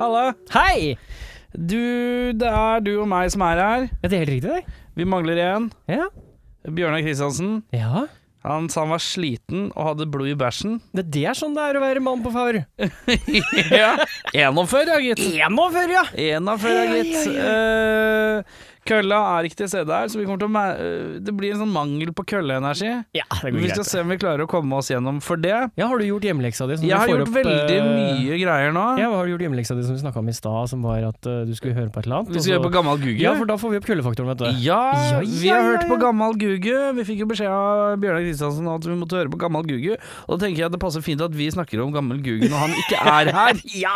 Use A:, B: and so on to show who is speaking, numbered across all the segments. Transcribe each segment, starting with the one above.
A: Halla!
B: Hei!
A: Du, det er du og meg som er her.
B: Er det helt riktig, det?
A: Vi mangler en.
B: Ja.
A: Bjørnar Kristiansen.
B: ja.
A: Han sa han var sliten og hadde blod i bæsjen.
B: Det, det er sånn det er å være mann på favør.
A: ja. En av før, ja, gitt.
B: 41, ja!
A: En av før, ja, gitt. Eh, kølla er ikke til stede her, så vi kommer til å mer eh, det blir en sånn mangel på kølleenergi.
B: Ja, det går
A: Vi skal
B: greit.
A: se om vi klarer å komme oss gjennom for det.
B: Ja, har du gjort hjemmeleksa di? som du
A: Jeg har
B: får
A: gjort
B: opp,
A: veldig
B: eh,
A: mye greier nå.
B: Ja, har du gjort hjemmeleksa di som vi snakka om i stad, som var at eh, du skulle høre på et eller annet?
A: Vi
B: og
A: skal
B: så-
A: gjøre på gammel Google.
B: Ja, for da får vi opp køllefaktoren, vet du.
A: Ja,
B: Ja,
A: vi
B: ja,
A: har
B: ja,
A: hørt på
B: ja.
A: Gammal Gugu. Vi fikk jo beskjed av Bjørnar Kristiansen at vi måtte høre på Gammal Gugu. Og da tenker jeg at det passer fint at vi snakker om Gammel Gugu når han ikke er her.
B: Ja!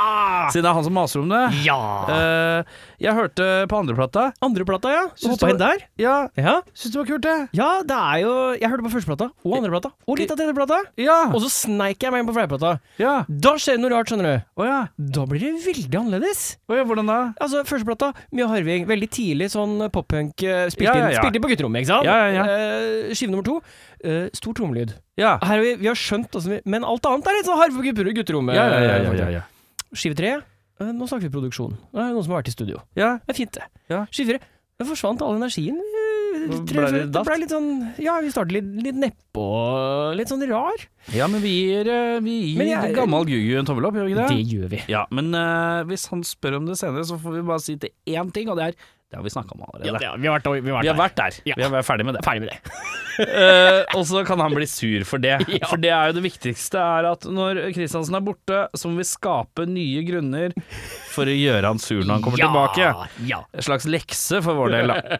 A: Siden det er han som maser om det.
B: Ja!
A: Eh, jeg hørte på andreplata.
B: Andreplata, ja. Du
A: Syns
B: hoppa
A: du-
B: inn der.
A: Ja,
B: Ja.
A: syns det var kult, det.
B: ja, det er jo Jeg hørte på førsteplata og andreplata og litt av tredjeplata.
A: Ja.
B: Og så sneik jeg meg inn på flerplata.
A: ja.
B: Da skjer det noe rart, skjønner du.
A: Å ja.
B: Da blir det veldig annerledes.
A: Å ja. Hvordan da?
B: Altså, Førsteplata, mye Harving. Veldig tidlig sånn pop-punk. eh, Spilte,
A: Ja, ja,
B: inn-
A: ja.
B: spilte inn på gutterommet, ikke sant?
A: Ja, ja, ja.
B: Eh, skive nummer to, eh, stor trommelyd.
A: Ja.
B: Her har vi, vi har skjønt åssen vi Men alt annet er litt sånn harve på gutterommet.
A: Ja, ja, ja, ja, ja, ja.
B: Skive tre, eh, nå snakker vi produksjon. Det er noen som har vært i studio.
A: ja.
B: Det er fint, det.
A: Ja.
B: Skive fire, det forsvant all energien. eh,
A: Ble
B: tre-
A: det datt?
B: ble litt sånn Ja, vi startet litt, litt nedpå, litt sånn rar.
A: ja men vi gir, eh, vi
B: Men
A: gir
B: jeg-
A: Gammal Gugu en tommel opp, gjør vi ikke det?
B: Det gjør vi.
A: Ja, men eh, hvis han spør om det senere, så får vi bare si til én ting, og det er Det har vi snakka om allerede.
B: Ja, det, vi har vært, vi har vært,
A: Vi har
B: der.
A: vært der.
B: Ja.
A: Vi er ferdig med det.
B: ferdig med det.
A: Eh, og så kan han bli sur for det. For det er jo det viktigste, er at når Kristiansen er borte, så må vi skape nye grunner for å gjøre han sur når han kommer tilbake.
B: Ja.
A: En slags lekse for vår del, da.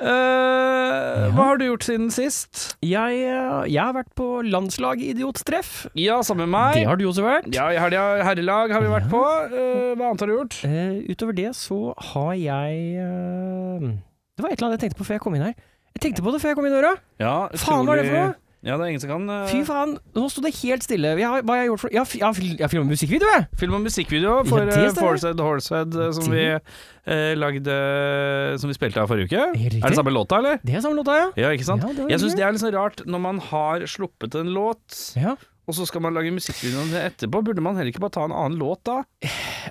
A: Eh, Hva har du gjort siden sist?
B: Jeg, eh, jeg har vært på landslagidiottreff.
A: Ja, sammen med meg.
B: Det har du også vært.
A: Ja, i helga herrelag har vi vært på. Eh, hva annet har du gjort?
B: Eh, utover det så har jeg eh, Det var et eller annet jeg tenkte på før jeg kom inn her. Jeg tenkte på det før jeg kom inn døra!
A: Ja,
B: Faen, hva er det for noe?
A: Ja, det er ingen som kan eh,
B: Fy faen, nå sto det helt stille. Jeg, har- hva har jeg gjort for Jeg har, fi- jeg har, fil- jeg har filmet musikkvideo, jeg!
A: Film og musikkvideo for eh,
B: Ja, det
A: ja,
B: stemmer.
A: Forcehead Horsehead eh, som vi
B: Det-
A: eh, lagde eh, Som vi spilte av forrige uke.
B: Helt riktig.
A: Er det samme låta, eller?
B: Det er samme låta, ja.
A: Ja, ikke sant?
B: Ja, det var
A: jeg syns
B: gøy.
A: det er litt sånn rart når man har sluppet en låt,
B: ja.
A: og så skal man lage musikkvideo om det etterpå. Burde man heller ikke bare ta en annen låt da?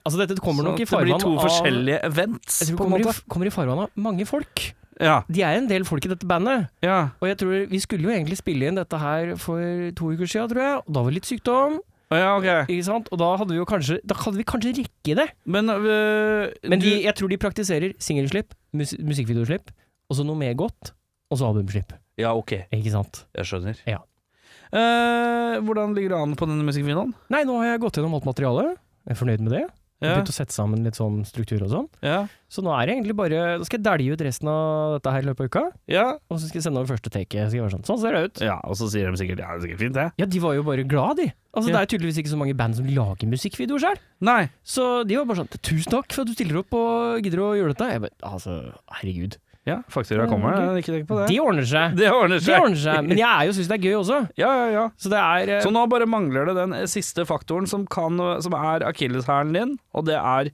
B: Altså, dette kommer
A: Sånn
B: nok i
A: at det blir
B: farvann
A: to
B: av
A: forskjellige events,
B: Jeg tror det
A: på en
B: kommer,
A: måte.
B: i, kommer i farvann av mange folk.
A: Ja,
B: De er en del folk i dette bandet.
A: ja.
B: Og jeg tror Vi skulle jo egentlig spille inn dette her for to uker siden, tror jeg. Og da var det litt sykdom.
A: Å, ja ok.
B: Ikke sant? Og da hadde vi jo kanskje Da hadde vi kanskje rekke det.
A: Men, øh,
B: Men
A: du,
B: de, jeg tror de praktiserer singelslipp, mus musikkvideoslipp, og så noe mer godt, og så albumslipp.
A: Ja, ok.
B: Ikke sant?
A: Jeg skjønner.
B: Ja.
A: Eh, hvordan ligger det an på denne musikkvideoen?
B: Nei, nå har jeg gått gjennom alt materialet. Jeg er fornøyd med det. Jeg har
A: Ja,
B: Begynt å sette sammen litt sånn struktur og sånn.
A: ja,
B: Så nå er det egentlig bare Nå skal jeg dælje ut resten av dette her i løpet av uka,
A: ja.
B: og så skal jeg sende over første take. Jeg Skal være sånn. sånn ser det ut.
A: ja og så sier de sikkert ja, det er sikkert fint, det.
B: Ja, de var jo bare glad, de. Altså,
A: Ja.
B: Det er tydeligvis ikke så mange band som lager musikkvideoer sjøl.
A: Nei.
B: Så de var bare sånn 'Tusen takk for at du stiller opp og gidder å gjøre dette'. Jeg bare, altså, herregud.
A: Ja, faktura kommer, jeg har ikke tenk på det.
B: Det ordner seg.
A: Det ordner
B: Det
A: seg.
B: ordner seg. Men jeg er jo syns det er gøy også.
A: Ja, ja, ja.
B: Så det er eh,
A: Så nå bare mangler det den eh, siste faktoren som, kan, eh, som er akilleshælen din, og det er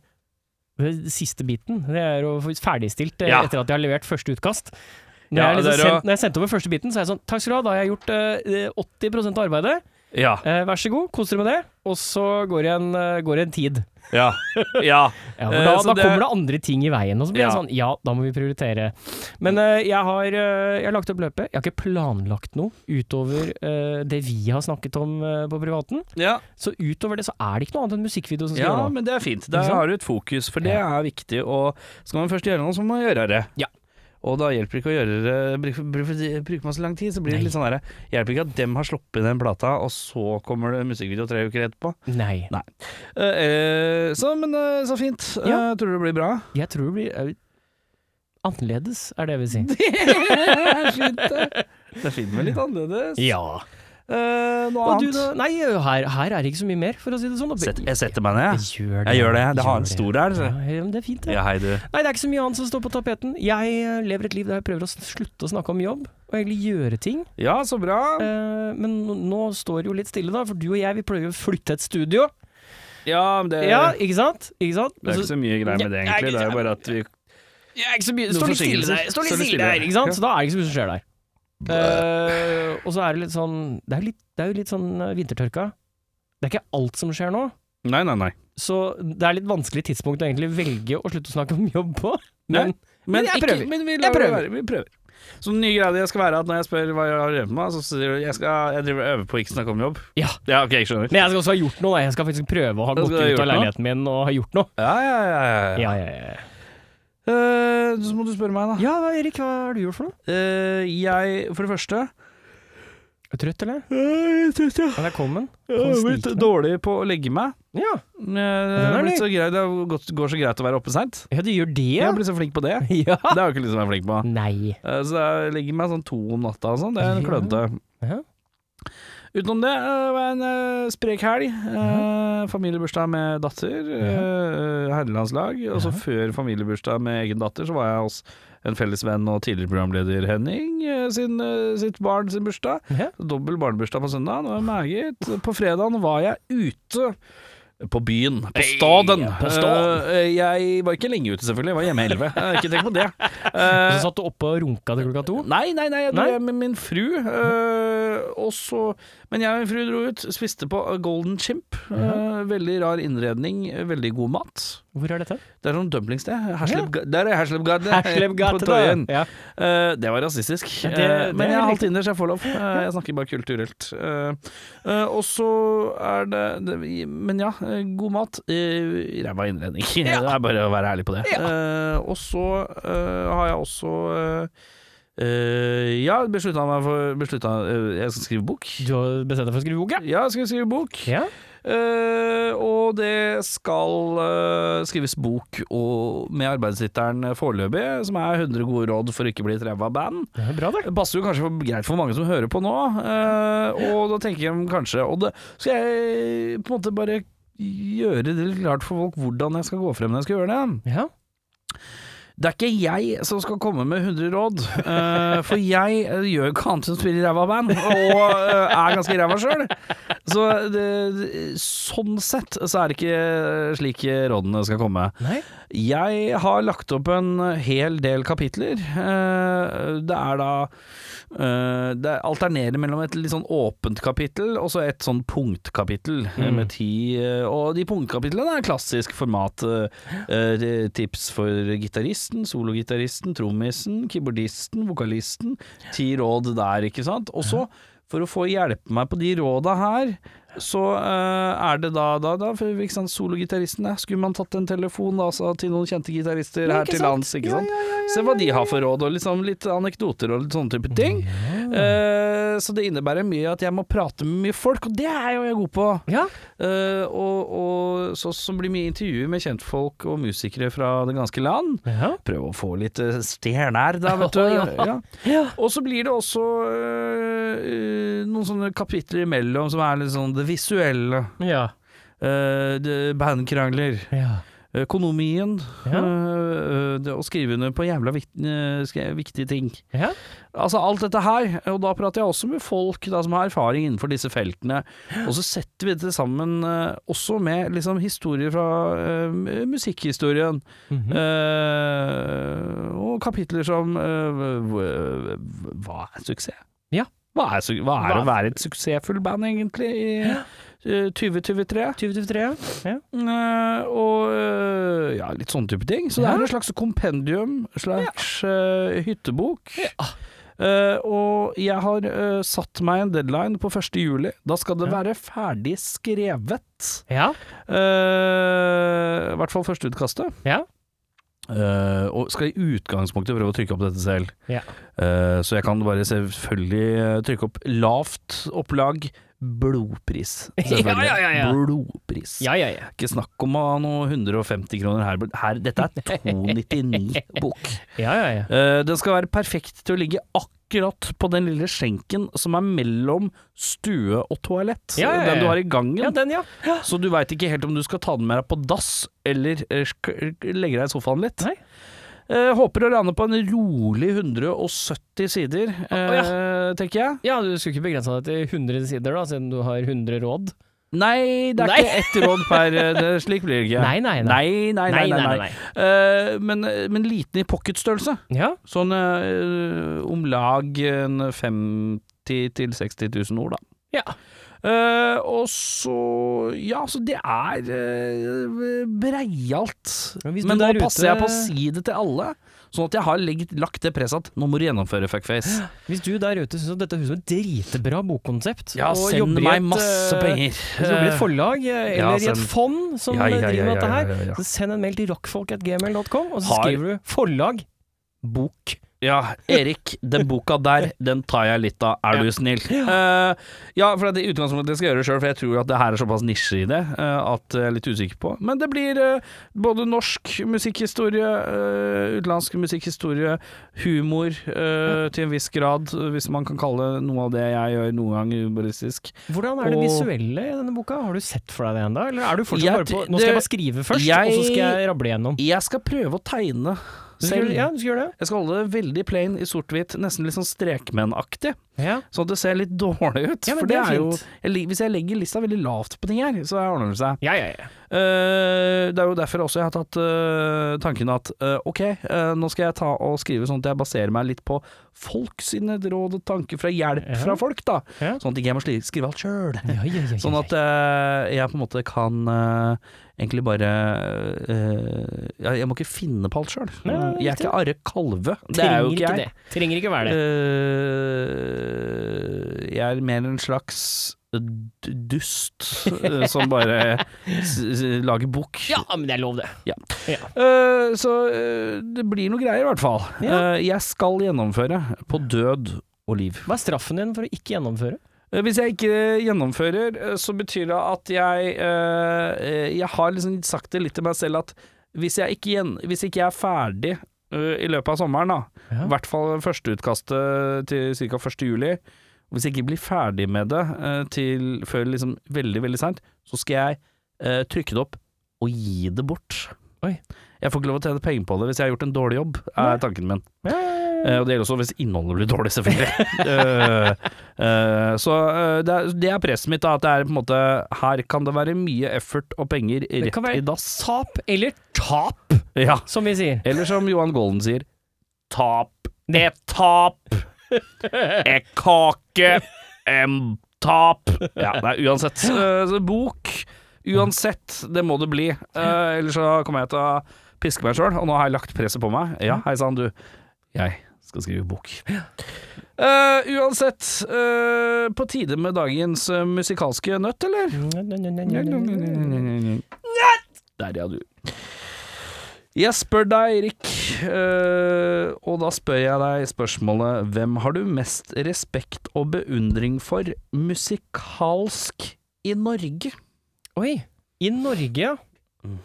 B: Den Siste biten det er å få ferdigstilt eh,
A: Ja.
B: etter at jeg har levert første utkast. Når,
A: Ja,
B: jeg liksom
A: det er å-
B: sendt, når jeg sendte over første biten, så er jeg sånn Takk skal du ha, da har jeg gjort eh, 80 av arbeidet.
A: Ja.
B: Eh, vær så god, kos dere med det. Og så går det en, eh, går det en tid.
A: Ja. ja.
B: Ja,
A: Eh,
B: for da,
A: så
B: da
A: det-
B: kommer det andre ting i veien. Og så blir jeg
A: Ja.
B: sånn Ja, da må vi prioritere. Men eh, jeg, har, eh, jeg har lagt opp løpet. Jeg har ikke planlagt noe utover eh, det vi har snakket om eh, på privaten.
A: Ja.
B: Så utover det så er det ikke noe annet enn musikkvideo som skal gjøre noe.
A: men det er fint.
B: Ikke
A: Der
B: sant?
A: har du et fokus, for det
B: Ja.
A: er viktig. Og skal man først gjøre noe, så må man gjøre det.
B: Ja.
A: Og da hjelper det ikke å gjøre det bruk- bruk- Bruker man så lang tid, så blir det
B: Nei.
A: litt sånn derre Hjelper ikke at dem har sluppet den plata, og så kommer det musikkvideo tre uker etterpå.
B: Nei.
A: Eh, eh, så, men eh, så fint.
B: Ja.
A: Eh, tror du det blir bra?
B: Jeg tror det blir eh, annerledes, er det jeg vil si.
A: Det er fint med litt annerledes.
B: Ja.
A: Eh, noe
B: Og
A: annet?
B: du da? Nei, her, her er det ikke så mye mer, for å si det sånn.
A: Sett, jeg setter meg ned, jeg.
B: Jeg gjør det.
A: Jeg gjør det. Det har en
B: Gjør
A: stor her.
B: det.
A: så-
B: Ja, ja, men det er fint, det.
A: Ja, hei, du.
B: Nei, det er ikke så mye annet som står på tapeten. Jeg eh, lever et liv der jeg prøver å s- slutte å snakke om jobb, og egentlig gjøre ting.
A: Ja, så bra.
B: Eh, men nå- nå står det jo litt stille, da, for du og jeg vi prøver jo å flytte et studio.
A: Ja, men det,
B: Ja, ikke sant? Ikke sant?
A: det er ikke så mye greier med det, egentlig. Det er jo bare at vi
B: Det er ikke så mye
A: Noen
B: Står litt stille
A: forsinkelser.
B: der, står litt
A: Står litt
B: stille
A: stille.
B: der ikke sant? Så da er det ikke så mye som skjer der. Eh, og så er det litt sånn Det er jo litt, det er jo litt sånn eh, vintertørka. Det er ikke alt som skjer nå.
A: Nei, nei, nei.
B: Så det er litt vanskelig tidspunkt å egentlig velge å slutte å snakke om jobb på. Men, men jeg
A: ikke-
B: prøver.
A: men vi, lar
B: Jeg
A: det
B: prøver.
A: Være, vi prøver. Så den nye greia jeg skal være at når jeg spør hva jeg har drevet med, så sier du jeg, skal, jeg driver og øver på å ikke snakke om jobb.
B: Ja.
A: Ja, ok, jeg skjønner.
B: Men jeg skal også ha gjort noe. da. Jeg skal faktisk prøve å ha
A: Du
B: gått
A: skal ha
B: ut
A: gjort
B: av
A: noe?
B: leiligheten min og ha gjort noe.
A: Ja, ja, ja. ja, ja.
B: Ja, ja, ja.
A: Eh, så må du spørre meg, da.
B: ja Erik, hva har du gjort for noe?
A: Eh, jeg, for det første
B: Er du trøtt, eller?
A: Jeg
B: Ja, Velkommen.
A: har blitt dårlig på å legge meg.
B: Ja.
A: Eh, Det, har
B: er
A: blitt så greit, det har gått- går så greit å være oppe seint.
B: ja, du gjør det?
A: Jeg
B: ja?
A: har blitt så flink på det.
B: Ja.
A: Det har jeg ikke lyst til å være flink på.
B: Nei.
A: Eh, Så jeg legger meg sånn to om natta og sånn. Det er en
B: Ja.
A: klønete.
B: Ja.
A: Utenom det eh, var en eh, sprek helg. Eh, Familiebursdag med datter, eh, herrelandslag. Og så
B: Ja.
A: før familiebursdag med egen datter, så var jeg hos en felles venn og tidligere programleder Henning eh, sin, eh, sitt barn sin bursdag.
B: Ja.
A: Dobbel barnebursdag på søndag, det var meget. På fredagen var jeg ute. På byen. På staden.
B: På staden.
A: Eh, jeg var ikke lenge ute, selvfølgelig. Jeg var hjemme i elleve. Eh, Ikke tenk på det.
B: Og
A: Eh,
B: så satt du oppe og runka til klokka to?
A: Nei, nei, nei, jeg dro
B: Nei?
A: hjem med min fru. øh, og så Men jeg og min fru dro ut, spiste på Golden Chimp. øh, veldig rar innredning, veldig god mat.
B: Hvor er dette?
A: Det er sånn dumplingsted. Hersleb, Der er Herslebgade.
B: Herslevgate,
A: på Tøyen.
B: Ja.
A: Eh, det var rasistisk.
B: Ja, det-
A: Eh,
B: det
A: men
B: er
A: jeg er halvt
B: riktig.
A: inder, så jeg får lov. Eh, jeg snakker bare kulturelt. Eh, eh, og så er det, det Men ja, eh, god mat. Uh, Ræva innredning. det er bare å være ærlig på det. Eh, og så eh, har jeg også eh, eh, Ja, beslutta meg for beslutta, eh, Jeg skal skrive bok.
B: Du har bestemt deg for å skrive bok, ja?
A: Ja, jeg skal skrive bok.
B: Ja.
A: Eh, og det skal eh, skrives bok og med arbeidstittelen foreløpig, som er 100 gode råd for å ikke bli et ræva band.
B: Det er bra, det.
A: Det passer jo kanskje for, greit for mange som hører på nå, eh, og da tenker jeg kanskje Og det skal jeg på en måte bare gjøre det litt klart for folk hvordan jeg skal gå frem når jeg skal gjøre det.
B: Ja.
A: Det er ikke jeg som skal komme med 100 råd, eh, for jeg eh, gjør jo ikke annet enn å spille ræva band, og eh, er ganske ræva sjøl. Så det, det- sånn sett så er det ikke slik rådene skal komme.
B: Nei.
A: Jeg har lagt opp en hel del kapitler. Eh, Det er da eh, Det alternerer mellom et litt sånn åpent kapittel og så et sånn punktkapittel eh,
B: Mm.
A: med ti eh, Og de punktkapitlene er klassisk format. eh, eh, Tips for gitaristen, sologitaristen, trommisen, keyboardisten, vokalisten. Ti råd der, ikke sant. Og så, for å få hjelpe meg på de råda her, så eh, er det da, da, da for, ikke sant, Sologitaristen, ja, skulle man tatt en telefon da, altså, til noen kjente gitarister
B: Ja,
A: her
B: ikke
A: til
B: sant?
A: lands, ikke
B: Ja,
A: sant? Se hva de har for råd, og liksom litt anekdoter og litt sånne type ting. Eh, så det innebærer mye at jeg må prate med mye folk, og det er jo jeg god på.
B: Ja.
A: Eh, og og så, så blir mye intervjuer med kjentfolk og musikere fra det ganske land.
B: Ja.
A: Prøve å få litt eh, stjerner da, vet du.
B: Ja.
A: Ja. Og så blir det også øh, øh, noen sånne kapitler imellom som er litt sånn det visuelle.
B: Ja.
A: øh, det- Bandkrangler.
B: ja.
A: Økonomien.
B: Ja.
A: øh, øh, det å skrive under på jævla vikt, øh, skre- viktige ting.
B: ja.
A: Altså alt dette her. Og da prater jeg også med folk da, som har erfaring innenfor disse feltene. Og så setter vi det sammen øh, også med liksom, historier fra øh, musikkhistorien.
B: Mhm.
A: Eh, og kapitler som eh, hva- Hva er suksess?
B: Ja.
A: Hva er, su- hva er
B: Hva-
A: å være et suksessfull band, egentlig, i eh, 2023?
B: 2023, ja.
A: Eh, og eh, ja, litt sånne type ting. Så det
B: Ja.
A: er et slags kompendium, slags eh, hyttebok. Eh, og jeg har eh, satt meg en deadline på 1. juli. Da skal det
B: Ja.
A: være ferdig skrevet.
B: Ja.
A: Eh, I hvert fall førsteutkastet.
B: Ja.
A: Eh, og skal i utgangspunktet prøve å trykke opp dette selv.
B: Ja.
A: Eh, så jeg kan bare selvfølgelig eh, trykke opp lavt opplag. Blodpris, selvfølgelig.
B: Ja, ja, ja, ja.
A: Blodpris.
B: Ja, ja, ja.
A: Ikke snakk om å ha noe 150 kroner her. her dette er 299-bok.
B: Ja, ja, ja.
A: Eh, den skal være perfekt til å ligge akkurat på den lille skjenken som er mellom stue og toalett.
B: Ja, ja, ja.
A: Den du har i gangen.
B: Ja, den, ja.
A: Så du veit ikke helt om du skal ta den med deg på dass, eller eh, sk- legge deg i sofaen litt.
B: Nei.
A: Eh, håper å lande på en rolig 170 sider, eh, tenker jeg.
B: Ja, du skulle ikke begrensa deg til 100 sider, da, siden du har 100 råd?
A: Nei, det er
B: Nei.
A: ikke ett råd per eh, det, Slik blir det ikke.
B: Nei, nei, nei.
A: nei, nei, nei, nei, nei. Eh, men, men liten i pocketstørrelse.
B: Ja.
A: Sånn eh, om lag en 50 000-60 000 ord, da.
B: Ja.
A: Eh, og så Ja, så det er eh, breialt.
B: Men
A: Men,
B: hvis du
A: nå
B: der ute-
A: passer jeg på å si det til alle, sånn at jeg har legget, lagt det presset at nå må du gjennomføre fuckface.
B: Hvis du der ute syns at dette høres ut som et dritbra bokkonsept
A: Ja,
B: og
A: send
B: jobber i
A: meg
B: et,
A: masse
B: eh,
A: penger.
B: Hvis du jobber i et forlag eh,
A: Ja,
B: eller i
A: send-
B: et fond som
A: Ja, ja,
B: eh, driver med
A: ja,
B: dette
A: ja,
B: her,
A: ja, ja.
B: så send en mail til rockfolk.gmail.com, og så
A: Har-
B: skriver du 'forlag', bok.
A: Ja, Erik, den boka der, den tar jeg litt av, er du snill. Eh, ja, for det er i utgangspunktet jeg skal gjøre det sjøl, for jeg tror at det her er såpass nisje i det eh, at jeg er litt usikker på. Men det blir eh, både norsk musikkhistorie, eh, utenlandsk musikkhistorie, humor eh, til en viss grad, eh, hvis man kan kalle noe av det jeg gjør noen gang humoristisk.
B: Hvordan er det
A: Og-
B: visuelle i denne boka? Har du sett for deg det ennå, eller er du fortsatt
A: Jeg-
B: bare på 'nå skal jeg bare skrive først, og så
A: jeg-
B: skal jeg rable gjennom'?
A: Jeg skal prøve å tegne
B: Du skal,
A: selv.
B: ja, du skal gjøre det?
A: Jeg skal holde det veldig plain i sort-hvitt, nesten litt sånn strekmennaktig.
B: Ja.
A: Sånn at det ser litt dårlig ut.
B: Ja, men
A: for det
B: det er
A: er jo,
B: fint.
A: jeg, lig- hvis jeg legger lista veldig lavt på ting her, så ordner det seg.
B: Ja, ja, ja.
A: Eh, det er jo derfor også jeg har tatt eh, tanken at eh, ok, eh, nå skal jeg ta og skrive sånn at jeg baserer meg litt på folk sine råd og tanker fra hjelp
B: Ja.
A: fra folk, da.
B: Ja.
A: Sånn at ikke jeg må sli- skrive alt sjøl.
B: ja, ja, ja, ja.
A: Sånn at eh, jeg på en måte kan eh, egentlig bare eh, ja, Jeg må ikke finne på alt sjøl.
B: Nei, nei, nei,
A: Jeg er ikke Are Kalve. Det er
B: Trenger
A: jo ikke jeg.
B: det. Trenger ikke være det.
A: Eh, jeg er mer en slags d- dust eh, som bare s s lager bok.
B: Ja, men det er lov, det.
A: Eh, så eh, det blir noe greier, i hvert fall.
B: Ja.
A: Eh, jeg skal gjennomføre på død og liv.
B: Hva er straffen din for å ikke gjennomføre?
A: Eh, Hvis jeg ikke gjennomfører, eh, så betyr det at jeg eh, eh, Jeg har liksom sagt det litt til meg selv at hvis jeg ikke, gjen, hvis ikke jeg er ferdig eh, i løpet av sommeren, da,
B: Ja.
A: i hvert fall førsteutkastet til ca. 1. juli Hvis jeg ikke blir ferdig med det eh, til før liksom veldig, veldig seint, så skal jeg eh, trykke det opp og gi det bort.
B: Oi.
A: Jeg får ikke lov å tjene penger på det hvis jeg har gjort en dårlig jobb,
B: Nei.
A: er tanken min.
B: Ja, ja, ja.
A: Eh, og det gjelder også hvis innholdet blir dårlig, selvfølgelig. Eh, eh, så eh, det, er, det er presset mitt, da. At det er på en måte Her kan det være mye effort og penger
B: Det
A: rett
B: kan være-
A: i dass.
B: Tap eller tap,
A: Ja.
B: som vi sier.
A: Eller som Johan Golden sier, tap. Det er tap. En kake. En tap. Ja, nei, uansett. Eh, så bok. Uansett, det må det bli. Eh, ellers så kommer jeg til å piske meg sjøl, og nå har jeg lagt presset på meg. Ja, hei sann, du. Jeg skal skrive bok. Eh, uansett, eh, på tide med dagens eh, musikalske nøtt, eller?
B: Mm,
A: Nett! Der, ja, du. Jeg spør deg, Erik, eh, og da spør jeg deg spørsmålet Hvem har du mest respekt og beundring for musikalsk i Norge?
B: Oi. I Norge, ja. Eh,
A: Mm.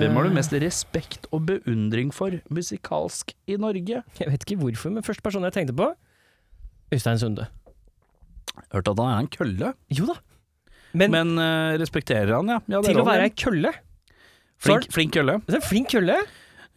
A: Hvem har du mest respekt og beundring for musikalsk i Norge?
B: Jeg vet ikke hvorfor, men første person jeg tenkte på Øystein Sunde.
A: Hørte at han er en kølle,
B: Jo da. Men,
A: men eh, respekterer han, ja. ja det er
B: til å
A: lov,
B: være
A: ja.
B: ei kølle
A: flink, flink kølle.
B: Det er en Flink kølle.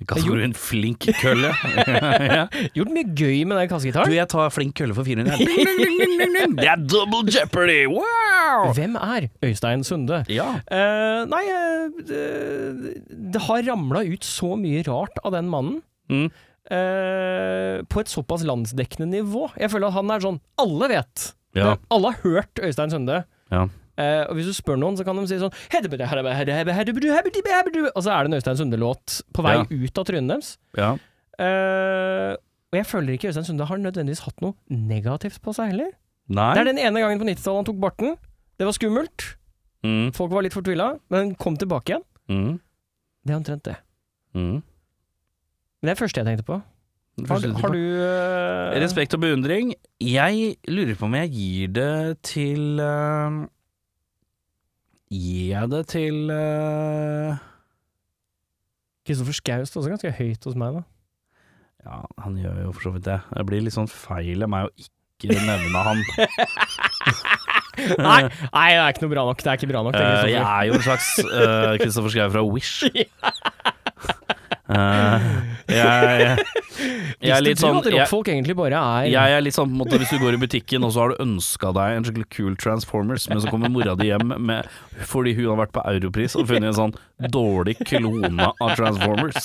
A: Kategorien flink kølle. ja.
B: Gjort mye gøy med den
A: Du,
B: kassegitaren.
A: jeg tar flink kølle for 400. Ding, ding, ding, ding, ding, ding. Det er double jeopardy! Wow!
B: Hvem er Øystein Sunde?
A: Ja.
B: Eh, nei, eh, det, det har ramla ut så mye rart av den mannen.
A: Mm.
B: eh, på et såpass landsdekkende nivå. Jeg føler at han er sånn Alle vet!
A: Ja.
B: Det- Alle har hørt Øystein Sunde.
A: Ja.
B: Eh, og hvis du spør noen, så kan de si sånn «Hedebede, hedebede, hedebede, hedebede, hedebede, hedebede», Og så er det en Øystein Sunde-låt på vei
A: Ja.
B: ut av trynet deres.
A: ja.
B: Eh, og jeg føler ikke Øystein Sunde har nødvendigvis hatt noe negativt på seg heller. Det
A: Nei.
B: er den ene gangen på 90-tallet han tok barten. Det var skummelt.
A: Mm,
B: Folk var litt fortvila, men kom tilbake igjen.
A: mm,
B: Det er omtrent det.
A: mm.
B: Men det er det første jeg tenkte på. Har,
A: Fortsett
B: har
A: på.
B: du eh,
A: Respekt og beundring. Jeg lurer på om jeg gir det til eh, Gir jeg det til eh,
B: Kristoffer Schau står også ganske høyt hos meg, da.
A: Ja, han gjør jo for så vidt det. Det blir litt sånn feil av meg å ikke nevne han.
B: nei, nei, det er ikke noe bra nok. Det er ikke bra nok, det,
A: Eh, jeg
B: Kristoffer.
A: er jo en slags eh, Kristoffer Schau fra Wish. Eh, jeg, jeg, Jeg er
B: Visste
A: litt
B: du
A: sånn
B: at
A: jeg,
B: rockfolk egentlig bare er
A: jeg er litt sånn på en måte Hvis du går i butikken og så har du ønska deg en skikkelig kul Transformers, men så kommer mora di hjem med, fordi hun har vært på Europris og funnet en sånn dårlig klone av Transformers,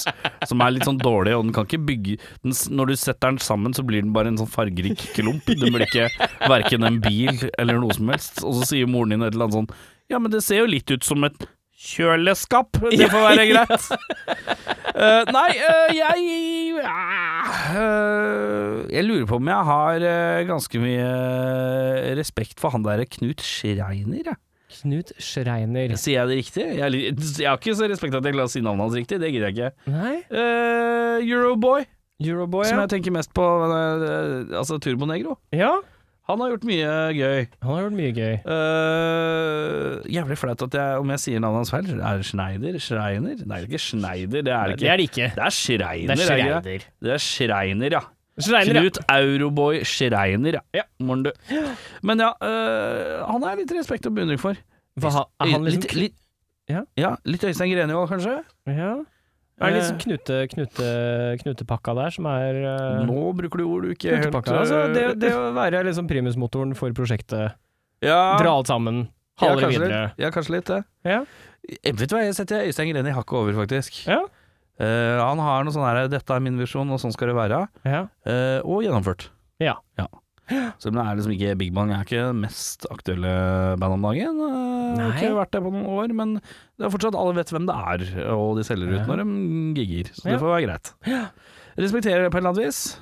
A: som er litt sånn dårlig, og den kan ikke bygge den, s- Når du setter den sammen, så blir den bare en sånn fargerik klump. Den blir ikke verken en bil eller noe som helst. Og så sier moren din et eller annet sånn Ja, men det ser jo litt ut som et Kjøleskap, det får være greit. Eh, nei, eh, jeg eh, Jeg lurer på om jeg har eh, ganske mye eh, respekt for han der Knut Schreiner, jeg.
B: Knut Schreiner.
A: Sier jeg det riktig? Jeg, er litt- jeg har ikke så respekt at jeg klarer å si navnet hans riktig, det gidder jeg ikke.
B: Nei,
A: Eh, Euroboy,
B: Euroboy,
A: som
B: ja.
A: jeg tenker mest på, eh, altså Turbonegro.
B: ja.
A: Han har gjort mye gøy.
B: Han har gjort mye gøy.
A: Eh, jævlig flaut at jeg, om jeg sier navnet hans feil. Er det Schneider? Schreiner? Nei, det er ikke Schneider, det er det
B: Det
A: ikke.
B: er det ikke.
A: Det er Schreiner, er det ikke det? Det er Schreiner, ja.
B: Schreiner, ja.
A: Knut Euroboy Schreiner,
B: Ja.
A: Morn, du. Men ja, øh, han er litt respekt og beundring for.
B: Hva, er han liksom
A: litt, litt,
B: Ja.
A: ja, litt Øystein Grenvold, kanskje?
B: Ja. Er
A: Eh,
B: det liksom knute, knute, knutepakka der som er eh,
A: Nå bruker du ord du ikke helt
B: Knutepakka, altså,
A: øh,
B: det, det å være liksom primusmotoren for prosjektet.
A: ja,
B: Dra alt sammen.
A: ja,
B: Ha det
A: kanskje
B: videre.
A: Litt, ja, kanskje litt det.
B: Ja.
A: Jeg vet du hva, jeg setter Øystein Greni hakket over, faktisk.
B: Ja.
A: Eh, han har noe sånn her 'dette er min visjon, og sånn skal det være',
B: Ja.
A: eh, og gjennomført.
B: Ja.
A: Så men det er liksom ikke Big Bang er ikke det mest aktuelle bandet om dagen. eh,
B: Nei.
A: Har ikke vært det på noen år, men det er fortsatt alle vet hvem det er, og de selger ut
B: Ja.
A: når de gigger. Så
B: Ja.
A: det får være greit. Respekterer det på et eller annet vis.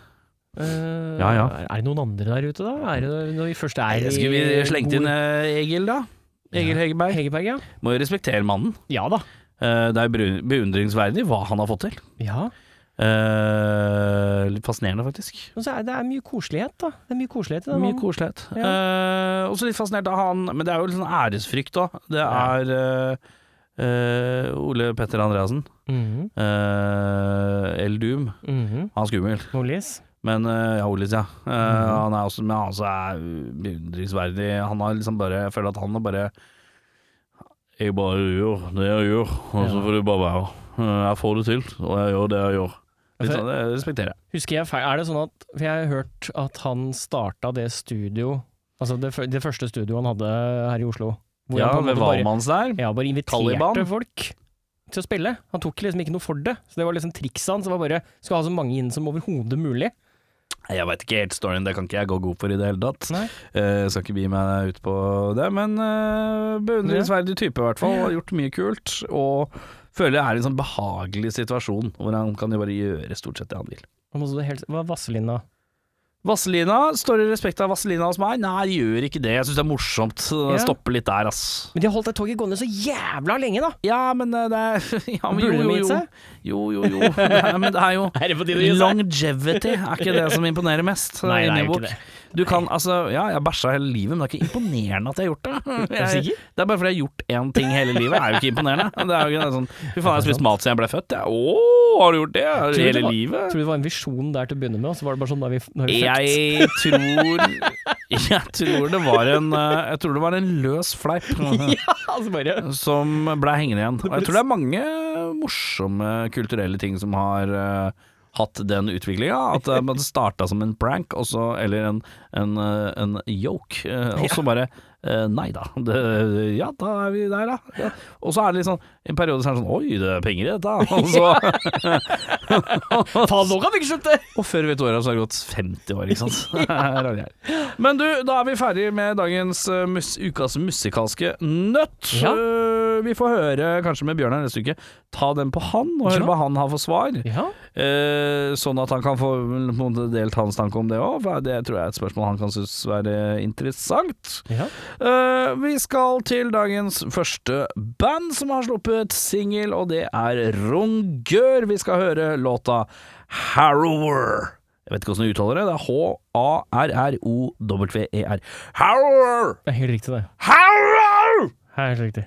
B: Eh,
A: Ja, ja.
B: Er det noen andre der ute, da? Er det, når vi først er i-
A: Skulle vi slengt inn eh, Egil, da? Egil Hegerberg.
B: Hegerberg, ja.
A: Må jo respektere mannen.
B: Ja da.
A: Eh, Det er bru- beundringsverdig hva han har fått til.
B: Ja.
A: Eh, litt fascinerende, faktisk.
B: Men så er det er mye koselighet, da. Det er sånn. mye koselighet i den
A: Mye
B: mannen.
A: koselighet. Eh, også litt fascinert av han, men det er jo litt sånn æresfrykt òg. Det
B: Ja.
A: er eh, eh, Ole Petter Andreassen.
B: Mhm,
A: Eh, El Doom.
B: mhm.
A: Han er skummel,
B: Muligens.
A: men eh, ja, Olis, ja. Eh,
B: Mhm.
A: Han er også, men han også er beundringsverdig. Han har liksom bare Jeg føler at han har bare Jeg bare gjør det jeg gjør, og så
B: Ja.
A: får det bare være. Eh, Jeg får det til, og jeg gjør det jeg gjør. Litt
B: Altså,
A: sånn, det respekterer jeg.
B: Husker jeg feil? Er det sånn at For jeg har hørt at han starta det studio Altså det, fø- det første studioet han hadde her i Oslo. hvor
A: Ja,
B: han på
A: ved
B: en måte bare-
A: Valmanns der.
B: Ja, bare inviterte
A: Taliban.
B: folk til å spille. Han tok liksom ikke noe for det. Så det var liksom trikset hans. Det var bare skal ha så mange inn som overhodet mulig.
A: Nei, Jeg veit ikke helt storyen, det kan ikke jeg gå god for i det hele tatt.
B: Nei.
A: Eh, skal ikke begi meg ut på det, men eh, beundringsverdig type i hvert fall. Har gjort mye kult, og føler jeg er i en sånn behagelig situasjon hvor han kan jo bare gjøre stort sett det han vil.
B: Og så helt, hva er Vazelina?
A: Vazelina, står det respekt av Vazelina hos meg? Nei, gjør ikke det. Jeg syns det er morsomt.
B: Ja.
A: Stopper litt der, ass.
B: Men de har holdt det toget gående så jævla lenge, da!
A: Ja, men eh, det er ja, men,
B: Burde de
A: jo, jo,
B: gitt
A: jo.
B: seg?
A: Jo, jo, jo. Det er, men det er jo
B: Er det på
A: Longevity er ikke det som imponerer mest. eh,
B: Nei, det er jo
A: Ingeborg.
B: ikke det.
A: Du kan, altså, ja, jeg bæsja hele livet, men det er ikke imponerende at jeg har gjort det.
B: Er du
A: Jeg,
B: sikker?
A: det er bare fordi jeg har gjort én ting hele livet, det er jo ikke imponerende. Det er jo ikke det er sånn Fy faen, jeg har spist mat siden jeg ble født, jeg. Å, har du gjort det?
B: du det
A: Hele
B: var-
A: livet?
B: Tror du det var en visjon der til å begynne med, og så var det bare sånn da vi, da vi fucked.
A: Jeg tror Jeg tror det var en eh, Jeg tror det var en løs fleip
B: Ja, altså bare
A: som ble hengende igjen. Og jeg tror det er mange morsomme kulturelle ting som har eh, hatt den utviklinga. At eh, man starta som en prank, og så, eller en, en, eh, en yoke, eh, og så bare eh, Nei da. Det, ja, da er vi der, da. Ja. Og så er det litt sånn en periode så er det sånn Oi, det er penger i dette. Og, så,
B: Faen, nå kan vi ikke slutte!
A: og før vi vet ordet av, så har det gått 50 år, ikke sant. Her er vi her. Men du, da er vi ferdig med dagens eh, mus ukas musikalske nøtt.
B: Ja.
A: Eh, vi får høre, kanskje med Bjørnar neste uke, ta den på han, og høre
B: Ja.
A: hva han har for svar.
B: Ja,
A: Eh, sånn at han kan få på en måte delt hans tanke om det òg, for det tror jeg er et spørsmål han kan synes være interessant.
B: ja.
A: Eh, vi skal til dagens første band som har sluppet singel, og det er Rongør. Vi skal høre låta Harrower. Jeg vet ikke hvordan du uttaler det. Det er H-a-r-r-o-w-e-r. E Harrower!
B: Det er helt riktig, det.
A: Harrower!
B: Helt riktig.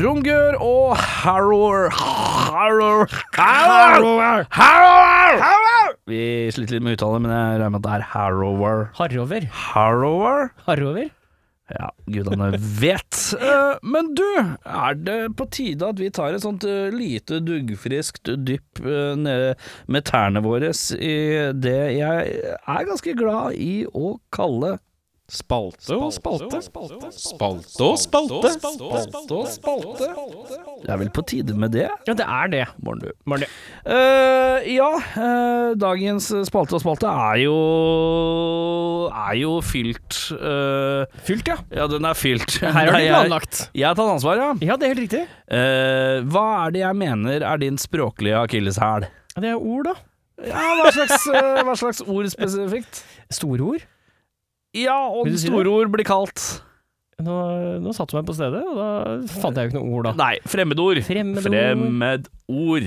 A: Rungør og Harrower Harrower Harrower Harrower Vi sliter litt med uttale, men jeg regner med at det er Harrower.
B: Harrover.
A: Harrower?
B: Harrover?
A: Ja, gudene vet. Eh, Men du, er det på tide at vi tar et sånt eh, lite duggfriskt dypp eh, nede med tærne våre i det jeg er ganske glad i å kalle spalte og spalte?
C: Spalte og spalte.
A: Det er vel på tide med det?
B: Ja, det er det.
A: Morn, du.
B: Var det.
A: Eh, ja, eh, dagens spalte og spalte er jo er jo fylt. eh,
B: Fylt, ja.
A: ja, den er fylt.
B: Her har
A: Nei,
B: du
A: jeg-
B: planlagt.
A: Jeg tar ansvar, ja.
B: Ja, det er helt riktig.
A: Eh, hva er det jeg mener er din språklige akilleshæl?
B: Ja, Det er ord, da.
A: Ja, hva slags, eh, hva slags ord spesifikt?
B: Storord.
A: Ja, og
B: Vil du si det?
A: store ord blir kalt
B: Nå, nå satte du meg på stedet, og da fant jeg jo ikke noe ord, da.
A: Nei, fremmedord.
B: Fremmedord.
A: Fremmedord.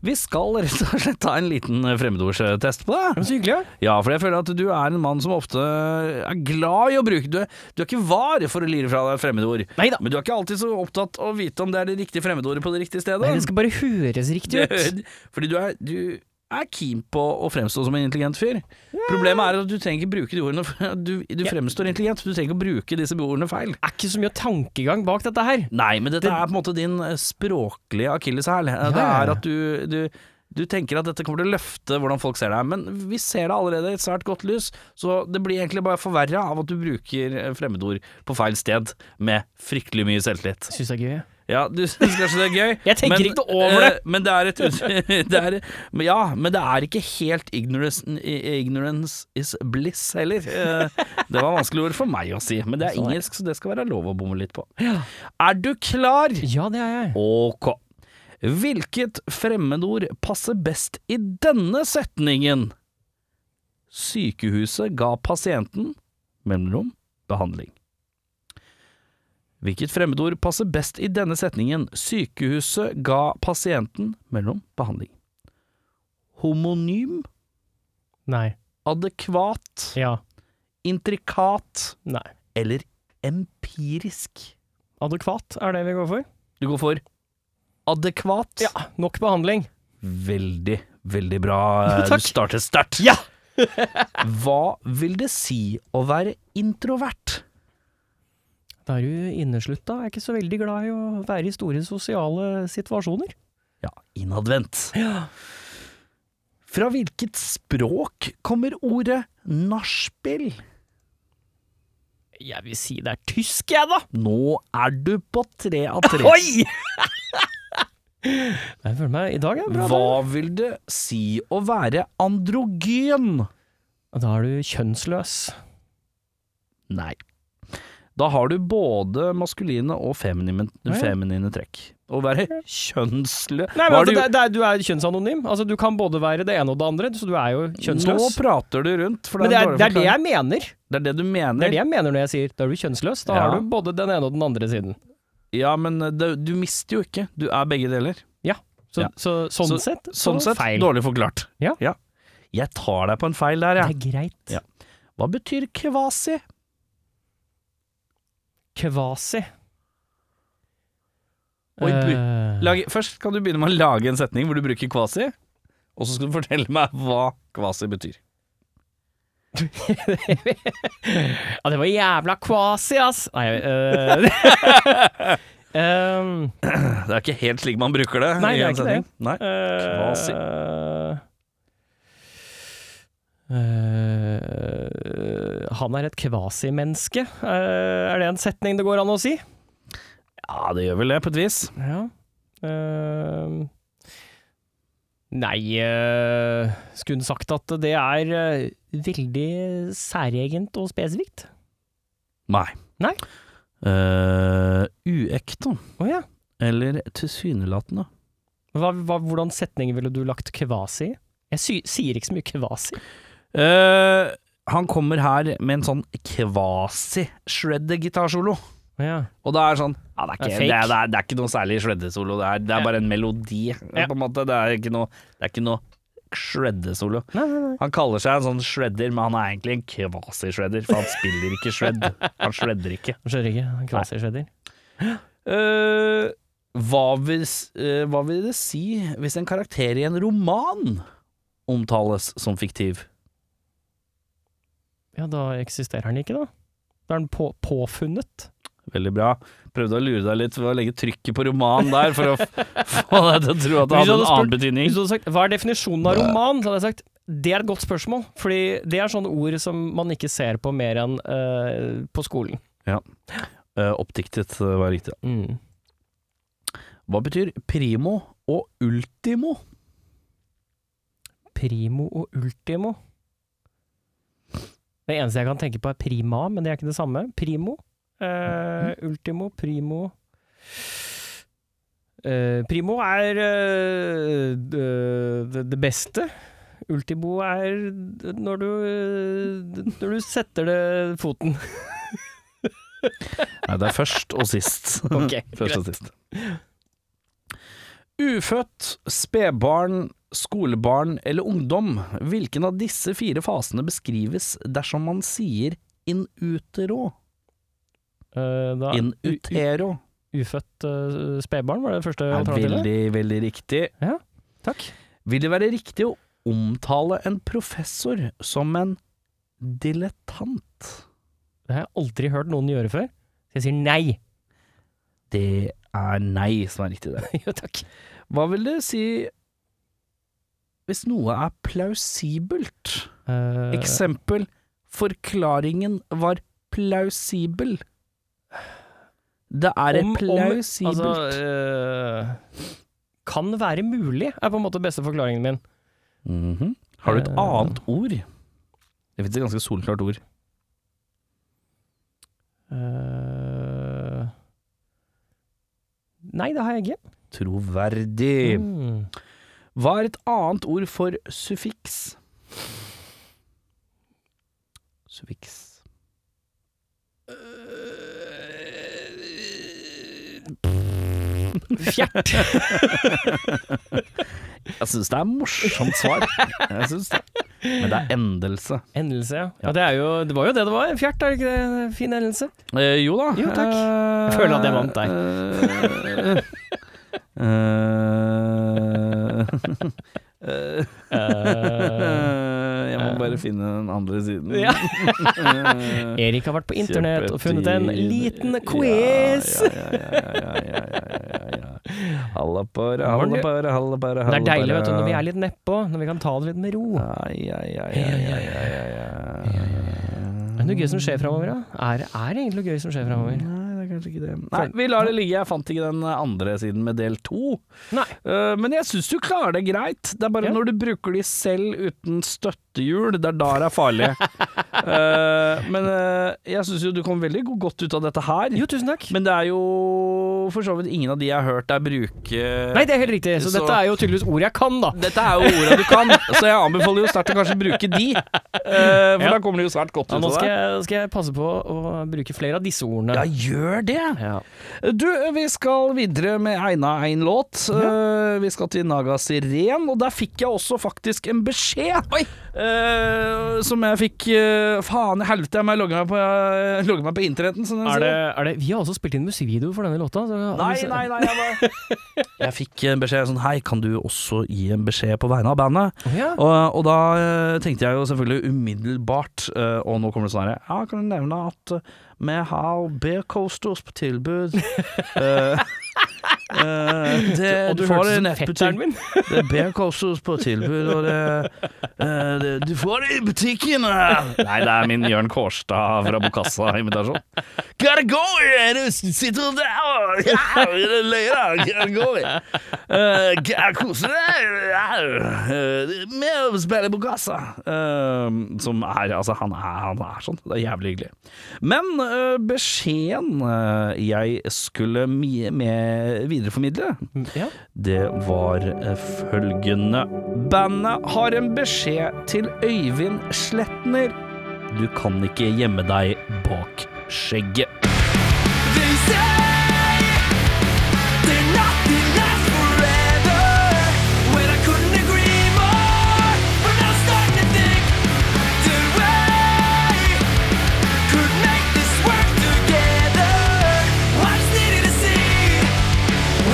A: Vi skal rett og slett ta en liten eh, fremmedordstest på deg.
B: Det var så hyggelig, ja.
A: Ja, for jeg føler at du er en mann som ofte eh, er glad i å bruke Du, er- du er ikke var for å lire fra deg fremmedord.
B: Neida.
A: Men du er ikke alltid så opptatt av å vite om det er det riktige fremmedordet på det riktige stedet.
B: Nei, det skal bare høres riktig ut.
A: Det- Fordi du er, du er keen på å fremstå som en intelligent fyr. Problemet er at du trenger ikke bruke de ordene f- Du, du
B: Ja.
A: fremstår intelligent, du trenger ikke å bruke disse ordene feil.
B: Det er ikke så mye tankegang bak dette her.
A: Nei, men dette er på en måte din eh, språklige akilleshæl. Eh, Det
B: ja, ja.
A: er at du, du du tenker at dette kommer til å løfte hvordan folk ser deg, men vi ser det allerede i et svært godt lys, så det blir egentlig bare forverra av at du bruker eh, fremmedord på feil sted med fryktelig mye selvtillit.
B: Syns jeg er gøy. jeg.
A: Ja, du syns kanskje det er gøy.
B: Jeg tenker ikke over det.
A: eh, Men det er et det er, men Ja, men det er ikke helt ignorance, ignorance is bliss heller. Eh, Det var vanskelig ord for meg å si, men det er
B: Sånn er det.
A: engelsk, så det skal være lov å bomme litt på. Er du klar?
B: Ja, det er jeg.
A: Ok. Hvilket fremmedord passer best i denne setningen? Sykehuset ga pasienten mellomrom behandling. Hvilket fremmedord passer best i denne setningen? Sykehuset ga pasienten mellom behandling. Homonym,
B: Nei.
A: adekvat,
B: Ja.
A: intrikat
B: Nei.
A: eller empirisk?
B: Adekvat er det vi går for.
A: Du går for adekvat.
B: Ja. Ah, Nok behandling.
A: Veldig, veldig bra. Eh,
B: Takk.
A: Du starter sterkt.
B: Ja!
A: Hva vil det si å være introvert?
B: Da er du inneslutta. Er ikke så veldig glad i å være i store sosiale situasjoner.
A: Ja, innadvendt. Fra hvilket språk kommer ordet nachspiel?
B: Jeg vil si det er tysk, jeg, da!
A: Nå er du på tre av tre.
B: Oi! Jeg føler meg I dag er det bra. dag.
A: Hva vil det si å være androgyn?
B: Da er du kjønnsløs.
A: Nei. Da har du både maskuline og feminine,
B: Ja.
A: feminine trekk. Å være kjønnslø...
B: Nei, men
A: Hva er
B: altså,
A: det
B: det, det er, Du er kjønnsanonym. Altså, du kan både være det ene og det andre, så du er jo kjønnsløs.
A: Nå prater du rundt, for
B: Men
A: det
B: det
A: er,
B: er,
A: en dårlig
B: det er det
A: forklaring.
B: jeg mener.
A: Det er det du
B: Det er
A: mener.
B: det jeg mener når jeg sier da er du kjønnsløs. Da
A: Ja.
B: har du både den ene og den andre siden.
A: Ja, men eh, det, du mister jo ikke. Du er begge deler.
B: Så,
A: Ja.
B: så, sånn
A: Så-
B: sett, så
A: Sånn sett,
B: feil.
A: dårlig forklart.
B: Ja.
A: Jeg tar deg på en feil der,
B: Det
A: jeg.
B: er greit.
A: Ja. Hva betyr kvasi?
B: Kvasi.
A: Oi, du-
B: Eh,
A: Lag, først kan du begynne med å lage en setning hvor du bruker kvasi, og så skal du fortelle meg hva kvasi betyr.
B: Ja, det var jævla kvasi, ass! Nei, eh, Ehm, em,
A: Det er ikke helt slik man bruker det.
B: Nei,
A: i
B: det er
A: en
B: ikke
A: setning. Nei.
B: Kvasi. Eh, han er et kvasimenneske. Eh, er det en setning det går an å si?
A: Ja, det gjør vel det, på et vis.
B: Ja. Ehm, nei eh, Skulle hun sagt at det er eh, veldig særegent og spesifikt?
A: Nei.
B: Nei.
A: Eh, uekte,
B: Å ja.
A: eller tilsynelatende.
B: Hva, hva, hvordan setning ville du lagt kvasi i? Jeg sy sier ikke så mye kvasi.
A: Eh, han kommer her med en sånn kvasi-shredde gitarsolo.
B: Ja.
A: Og det er sånn ja, det, er
B: Det
A: ikke,
B: er
A: det,
B: fake.
A: er, det, er, det er ikke noe særlig shreddesolo. Det er, det er
B: Ja.
A: bare en melodi, eh,
B: Ja.
A: på en måte. Det er ikke noe, det er ikke noe shreddesolo.
B: Nei, nei, nei.
A: Han kaller seg en sånn shredder, men han er egentlig en kvasi-shredder, for han spiller ikke shred. Han shredder ikke.
B: Jeg Skjønner ikke. Kvasi skjedder.
A: Eh, hva, hvis, eh, hva vil det si hvis en karakter i en roman omtales som fiktiv?
B: Ja, da eksisterer den ikke, da. Da er den på, påfunnet.
A: Veldig bra. Prøvde å lure deg litt ved å legge trykket på roman der, for å f få deg til å tro at det
B: Hvis du
A: hadde en
B: hadde
A: annen
B: spurt- Hvis
A: betydning.
B: du hadde sagt hva er definisjonen av roman, så hadde jeg sagt det er et godt spørsmål, fordi det er sånne ord som man ikke ser på mer enn eh, på skolen.
A: Eh, oppdiktet eh, var riktig. Hva betyr primo og ultimo?
B: Primo og ultimo. Det eneste jeg kan tenke på er prima, men det er ikke det samme. Primo, eh, ultimo, primo Eh, Primo er eh, det- det det beste. Ultimo er når du, når du setter det foten.
A: Nei, det er først og sist.
B: Ok,
A: først og sist. Ufødt, spedbarn, skolebarn eller ungdom, hvilken av disse fire fasene beskrives dersom man sier in utero?
B: Eh, da,
A: In
B: u- u-
A: utero
B: Ufødt eh, spedbarn var det første
A: er
B: alternativet.
A: veldig, veldig riktig.
B: Takk.
A: Vil det være riktig å omtale en professor som en dilettant?
B: Det har jeg aldri hørt noen gjøre før. Så jeg sier nei.
A: Det er nei som er riktig der.
B: jo, takk.
A: Hva vil det si hvis noe er plausibelt?
B: Eh,
A: Eksempel forklaringen var plausibel. Det er
B: Om- om-
A: plausibelt.
B: Altså, eh, kan være mulig, er på en måte beste forklaringen min.
A: Mhm. Har du et
B: Eh.
A: annet ord? Det finnes et ganske solklart ord.
B: Eh, nei, det har jeg ikke.
A: Troverdig.
B: Mm.
A: Hva er et annet ord for suffiks? Suffiks
B: Fjert.
A: Jeg syns det er morsomt svar. Jeg synes det. Men det er endelse.
B: Endelse, ja. ja det, er jo, det var jo det det var. Fjert, er det ikke det? Fin endelse.
A: Eh, jo da.
B: Jo, takk.
A: Eh,
B: Jeg føler at jeg vant deg.
A: eh, eh, eh, jeg må bare finne den andre siden.
B: Ja.
A: Eh,
B: Erik har vært på internett og funnet en
A: Kjempetid.
B: liten quiz.
A: Ja, ja, ja, ja, ja, ja, ja, ja, ja. Halla bare,
B: Var
A: halla
B: det-
A: bare, halla bare.
B: Det er deilig vet du, når vi er litt nedpå, når vi kan ta det litt med ro.
A: Ja, ja, ja, ja, ja, ja, ja.
B: Er det noe gøy som skjer framover, da? Er, er egentlig noe gøy som skjer framover?
A: Nei, det er kanskje ikke det. Nei, vi lar det ligge. Jeg fant ikke den andre siden med del to.
B: Nei.
A: Eh, men jeg syns du klarer det greit. Det er bare
B: Ja.
A: når du bruker de selv uten støttehjul, det er da det er farlig. Eh, men eh, jeg syns jo du kom veldig go- godt ut av dette her.
B: Jo, tusen takk.
A: Men det er jo for så vidt ingen av de jeg har hørt deg bruke
B: Nei, det er helt riktig. Så,
A: Så-
B: dette er jo tydeligvis ord jeg kan, da.
A: Dette er jo orda du kan, så jeg anbefaler jo snart å kanskje bruke de. eh, for
B: Ja.
A: da kommer du jo svært godt ut
B: Ja, nå
A: av
B: skal
A: det.
B: jeg, skal jeg passe på å bruke flere av disse ordene.
A: Ja, gjør det!
B: Ja.
A: Du, vi skal videre med Eina ein låt. Eh, vi skal til Naga Siren, og der fikk jeg også faktisk en beskjed. Eh, som jeg fikk eh, Faen i helvete, jeg må logge meg på, eh, logge meg på internetten. som de
B: Er det,
A: sier.
B: er det, vi har også spilt inn musikkvideo for denne låta. Så
A: Nei, nei, nei. Jeg, bare... jeg fikk en beskjed sånn Hei, kan du også gi en beskjed på vegne av bandet?
B: Ja.
A: Og, og da eh, tenkte jeg jo selvfølgelig umiddelbart, eh, og nå kommer det sånn her Ja, kan du nevne at eh, vi har Bear Coasters på tilbud. Eh, eh, det,
B: Og du
A: får
B: hørte
A: det i
B: som
A: nettbutikk.
B: fetteren min.
A: Det er Bear Coasters på tilbud, og det, eh, det Du får det i butikken! eh. Nei, det er min Jørn Kårstad fra Bokassa-imitasjon. Gotta go here! Du sitter der og ja, løyer. Gotta go here. Eh, gotta Kose deg! ja. Eh, Med å spille Bokassa. Eh, Som er Altså, han er, han er sånn. Det er jævlig hyggelig. Men eh, beskjeden eh, jeg skulle mi- med videreformidle
B: Ja.
A: det var eh, følgende. Bandet har en beskjed til Øyvind Sletner. Du kan ikke gjemme deg bak skjegget.
D: Could make this work together. I just needed to see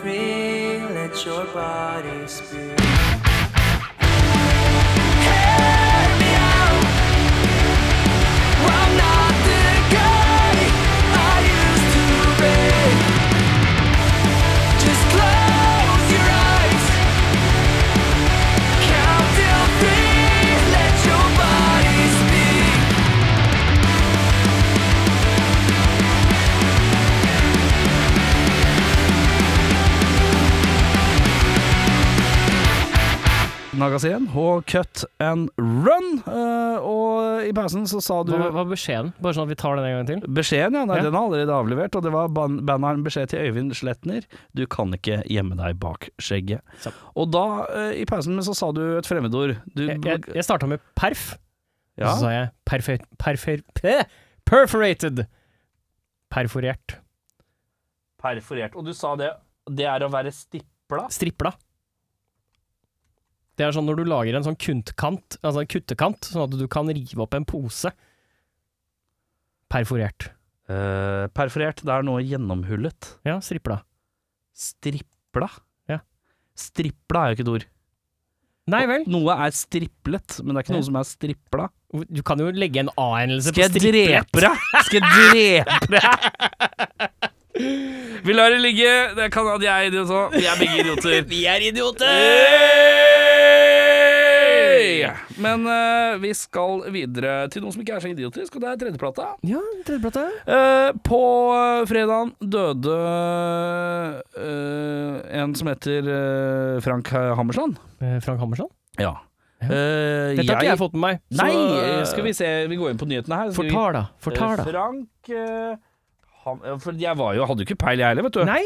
D: let your body speak.
E: I'm not the guy I used to be. Just close your eyes, count till three, let your body speak.
A: Nagasien og Cut and Run. Eh, og i pausen så sa du
B: Hva hva var beskjeden? Bare sånn at vi tar den en gang til.
A: Beskjeden, ja. Nei,
B: Ja.
A: Den er allerede avlevert. Og det var ban- bandet har en beskjed til Øyvind Sletner. Du kan ikke gjemme deg bak skjegget.
B: Sant.
A: Og da, eh, i pausen, men så sa du et fremmedord. Du,
B: Jeg, jeg, jeg starta med perf, og
A: ja.
B: så sa jeg perfe, perfe, pe- perforated. Perforert.
A: Perforert. Og du sa det. Det er å være stipla.
B: Stripla. Det er sånn når du lager en sånn kuntkant, altså en kuttekant, sånn at du kan rive opp en pose. Perforert.
A: Eh, perforert, det er noe gjennomhullet.
B: Ja, stripla.
A: Stripla?
B: Ja.
A: Stripla er jo ikke et ord.
B: Nei vel?
A: Noe er striplet, men det er ikke
B: Ja.
A: noe som er stripla.
B: Du kan jo legge en A-endelse på
A: Skal jeg
B: striplet.
A: drepe deg? Skal jeg drepe deg? Vi lar det ligge. Det kan at jeg er idiot òg. Vi er begge idioter.
B: Vi er idioter!
A: Hey! Men eh, vi skal videre til noe som ikke er så idiotisk, og det er tredjeplata.
B: Ja, tredjeplate.
A: Eh, på uh, fredagen døde eh, en som heter eh, Frank Hammersland.
B: Eh, Frank Hammersson?
A: Ja. Eh,
B: Dette har ikke jeg fått med meg. så-
A: Nei, eh, skal vi se. Vi går inn på nyhetene her. Skal vi-
B: Fortal, da. Fortal,
A: Eh,
B: da.
A: Frank eh, han, ja, For jeg var jo, hadde jo ikke peil jeg heller, vet du.
B: Nei,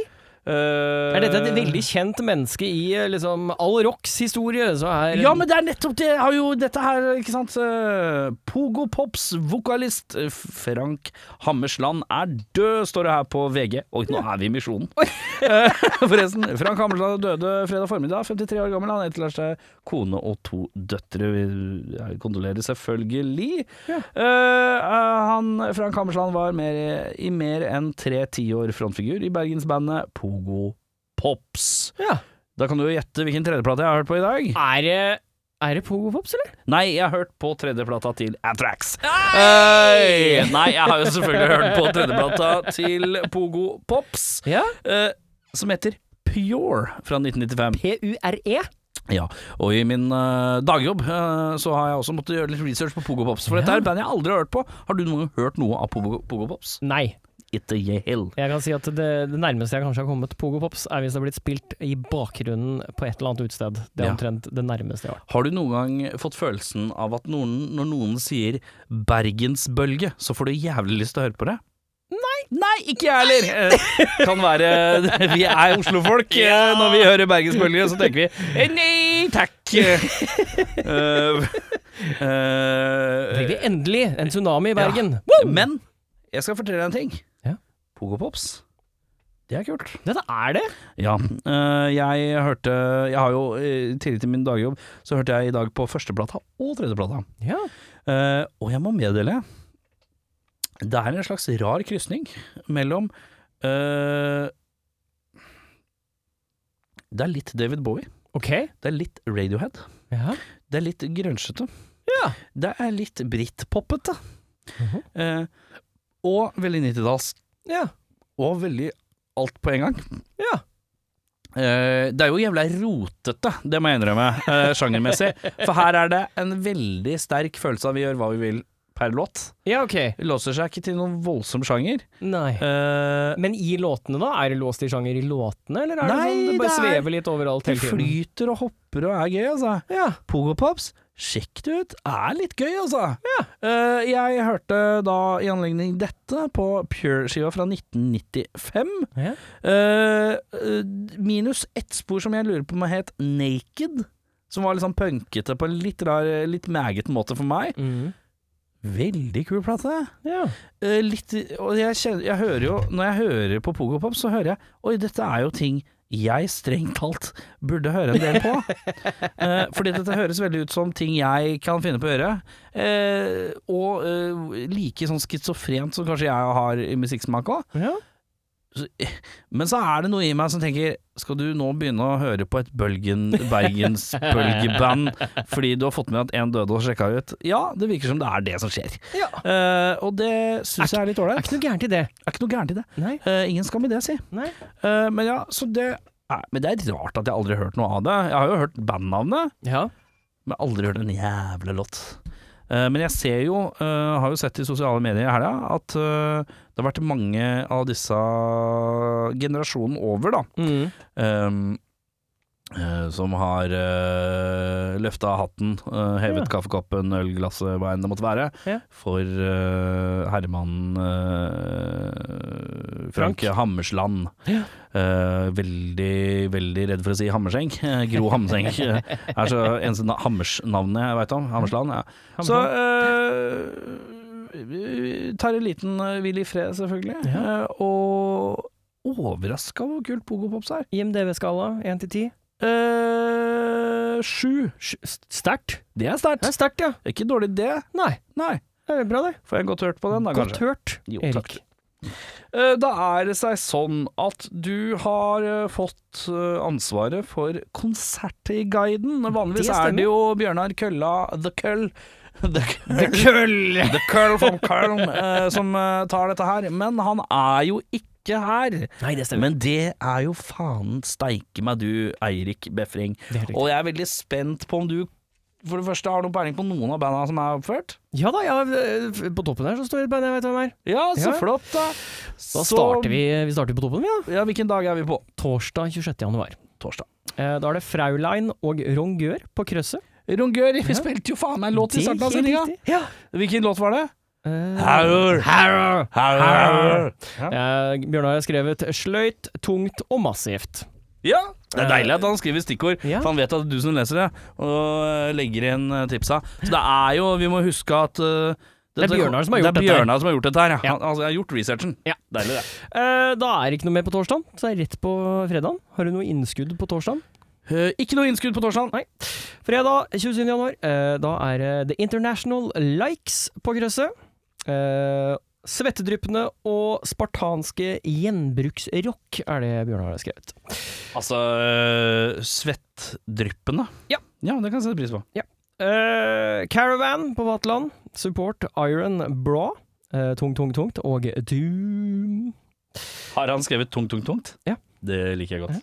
A: Eh,
B: er dette et veldig kjent menneske i eh, liksom all rocks historie, så er
A: Ja, men det er nettopp det! Har jo dette her, ikke sant. Eh, Pogo Pops vokalist eh, Frank Hammersland er død, står det her på VG. Og nå er vi i Misjonen. Eh, Forresten, Frank Hammersland døde fredag formiddag, 53 år gammel. Han etterlater seg kone og to døtre. Vi eh, kondolerer selvfølgelig. Eh, eh, han, Frank Hammersland var mer, i mer enn tre tiår frontfigur i bergensbandet Pogo Pops.
B: Ja.
A: Da kan du jo gjette hvilken tredjeplate jeg har hørt på i dag.
B: Er det er det Pogo Pops, eller?
A: Nei, jeg har hørt på tredjeplata til Anthrax. Nei! Nei, jeg har jo selvfølgelig hørt på tredjeplata til Pogo Pops,
B: Ja.
A: eh, som heter Pure fra 1995. E?
B: P-U-R-E.
A: Ja, og i min eh, dagjobb eh, så har jeg også måttet gjøre litt research på Pogo Pops, for dette er et band jeg aldri har hørt på. Har du noen gang hørt noe av Pogo, Pogo Pops?
B: Nei.
A: Ikke jeg heller.
B: Jeg kan si at det, det nærmeste jeg kanskje har kommet Pogo Pops, er hvis det har blitt spilt i bakgrunnen på et eller annet utested. Det er
A: Ja.
B: omtrent det nærmeste jeg har vært.
A: Har du noen gang fått følelsen av at noen, når noen sier bergensbølge, så får du jævlig lyst til å høre på det? Nei, nei, ikke jeg heller. Eh, Kan være eh, Vi er Oslo-folk. eh, Når vi hører bergensbølge, så tenker vi eh, nei takk. Eh, eh,
B: Fikk vi endelig en tsunami i Bergen!
A: men jeg skal fortelle deg en ting.
B: Ja.
A: Pogo Pops, det er kult.
B: Dette er det!
A: Ja, øh, jeg hørte Jeg har jo øh, tidligere til min dagjobb Så hørte jeg i dag på førsteplata og tredjeplata
B: Ja.
A: Eh, Og jeg må meddele Det er en slags rar kryssning Mellom eh, Det er litt David Bowie
B: Ok.
A: Det er litt Radiohead
B: Ja.
A: Det er litt grønsjete
B: Ja. Mhm.
A: Det er litt brittpoppete Eh, Og veldig 90-tals
B: ja.
A: Og veldig alt på en gang
B: ja.
A: Eh, det er jo jævla rotete, det må jeg innrømme, eh, sjangermessig. For her er det en veldig sterk følelse av vi gjør hva vi vil per låt.
B: Ja, ok.
A: Vi låser seg ikke til noen voldsom sjanger.
B: Nei.
A: Eh,
B: Men i låtene, da? Er det låst i sjanger i låtene, eller er
A: Nei,
B: det sånn det bare
A: det er-
B: svever litt overalt
A: det
B: hele tiden?
A: flyter og hopper og er gøy, altså.
B: Ja.
A: Pogopops, sjekk det ut, er litt gøy, altså. Eh, jeg hørte da i anledning dette på Pure-skiva fra 1995.
B: ja.
A: Eh, eh, minus ett spor som jeg lurer på om het Naked. Som var litt sånn punkete på en litt rar, litt mægete måte for meg.
B: Mm.
A: Veldig kul plate.
B: ja.
A: Eh, litt, og jeg, kjenner, jeg hører jo, når jeg hører på Pogopop, så hører jeg Oi, dette er jo ting jeg strengt talt burde høre en del på. Eh, fordi dette høres veldig ut som ting jeg kan finne på å gjøre. Eh, og eh, like sånn schizofrent som kanskje jeg har i musikksmak òg
B: ja.
A: så- Men så er det noe i meg som tenker Skal du nå begynne å høre på et Bølgen, bergensbølgeband fordi du har fått med at én døde og sjekka ut? Ja, det virker som det er det som skjer.
B: Ja.
A: Eh, og det syns jeg er litt
B: Det er
A: ålreit.
B: ikke noe gærent i det.
A: Det er ikke noe gærent i det.
B: Nei.
A: Eh, ingen skam i det, si.
B: Nei.
A: Eh, men ja, så det er, men det er rart at jeg aldri har hørt noe av det. Jeg har jo hørt bandnavnet,
B: Ja.
A: men aldri hørt en jævla låt. Eh, men jeg ser jo, eh, har jo sett i sosiale medier i helga, at eh, det har vært mange av disse generasjonen over, da,
B: Mm.
A: ehm, eh, som har uh, løfta hatten, eh, hevet
B: Ja.
A: kaffekoppen, ølglasset, hva enn det måtte være,
B: Ja.
A: for eh, herremannen eh,
B: Frank.
A: Frank Hammersland.
B: Ja.
A: Eh, veldig, veldig redd for å si Hammerseng. Eh, Gro Hammerseng eh, er så eneste na Hammers-navnet jeg veit om. Hammersland. Ja. Så eh, vi tar en liten eh, hvil i fred, selvfølgelig. Eh, og overraska hvor kult Pogo Pops er.
B: IMDv-skala 1 til 10.
A: Eh, sju.
B: Sterkt.
A: Det er
B: Det
A: sterkt.
B: er sterkt, ja.
A: Det er Ikke dårlig det.
B: Nei,
A: Nei.
B: det er bra det.
A: Får jeg godt hørt på den, da,
B: Godt
A: kanskje.
B: hørt,
A: Jo, takk.
B: Erik.
A: Eh, Da er det seg sånn at du har eh, fått eh, ansvaret for konsertguiden. Vanligvis
B: Det
A: er
B: stemmer.
A: det jo Bjørnar Kølla, The Køll The Køll,
B: Køll!
A: The Køll from Köln eh, som eh, tar dette her. Men han er jo ikke her.
B: Nei, det stemmer.
A: Men det er jo faen steike meg du, Eirik Befring.
B: Det er riktig.
A: Og jeg er veldig spent på om du for det første har noen peiling på noen av banda som er oppført.
B: Ja da, ja, eh, f- på toppen her så står det et band jeg vet hvem er.
A: Ja, så
B: Ja.
A: flott, da.
B: Da
A: Så-
B: starter vi, eh, vi starter på toppen, vi da.
A: Ja, hvilken dag er vi på?
B: Torsdag 26. januar.
A: Torsdag.
B: Eh, Da er det Fraulein og Rongør på krøsset.
A: Rongør, vi
B: Ja.
A: spilte jo faen meg en låt i
B: Det er
A: starten av
B: helt
A: sendinga.
B: riktig. Ja.
A: Hvilken låt var det?
B: Eh,
A: Harur. Harur.
B: Harur. eh, Bjørnar har skrevet 'sløyt, tungt og massivt'.
A: Ja. Det er deilig at han skriver stikkord,
B: Ja.
A: for han vet at det er du som leser det, og legger igjen eh, tipsa. Så det er jo Vi må huske at eh,
B: Det
A: dette-
B: er Bjørnar som har
A: det
B: gjort dette
A: er
B: her.
A: Bjørnar som har gjort dette her. Ja.
B: Ja.
A: Han, altså, jeg har gjort researchen.
B: Ja.
A: Deilig, det.
B: Eh, Da er det ikke noe mer på torsdag, så det er rett på fredagen. Har du noe innskudd på torsdag?
A: Eh, ikke noe innskudd på torsdag.
B: Nei. Fredag 27. januar, eh, da er det The International Likes på krøsset. Eh, Svettedryppende og spartanske gjenbruksrock er det Bjørnar har skrevet.
A: Altså eh, Svettdryppende.
B: Ja.
A: ja, det kan jeg sette pris på.
B: Eh, Caravan på Vaterland, Support Iron Bra, eh, Tung, tung, tungt, og Doom.
A: Har han skrevet tungt, tungt, tungt?
B: Ja.
A: Det liker jeg godt.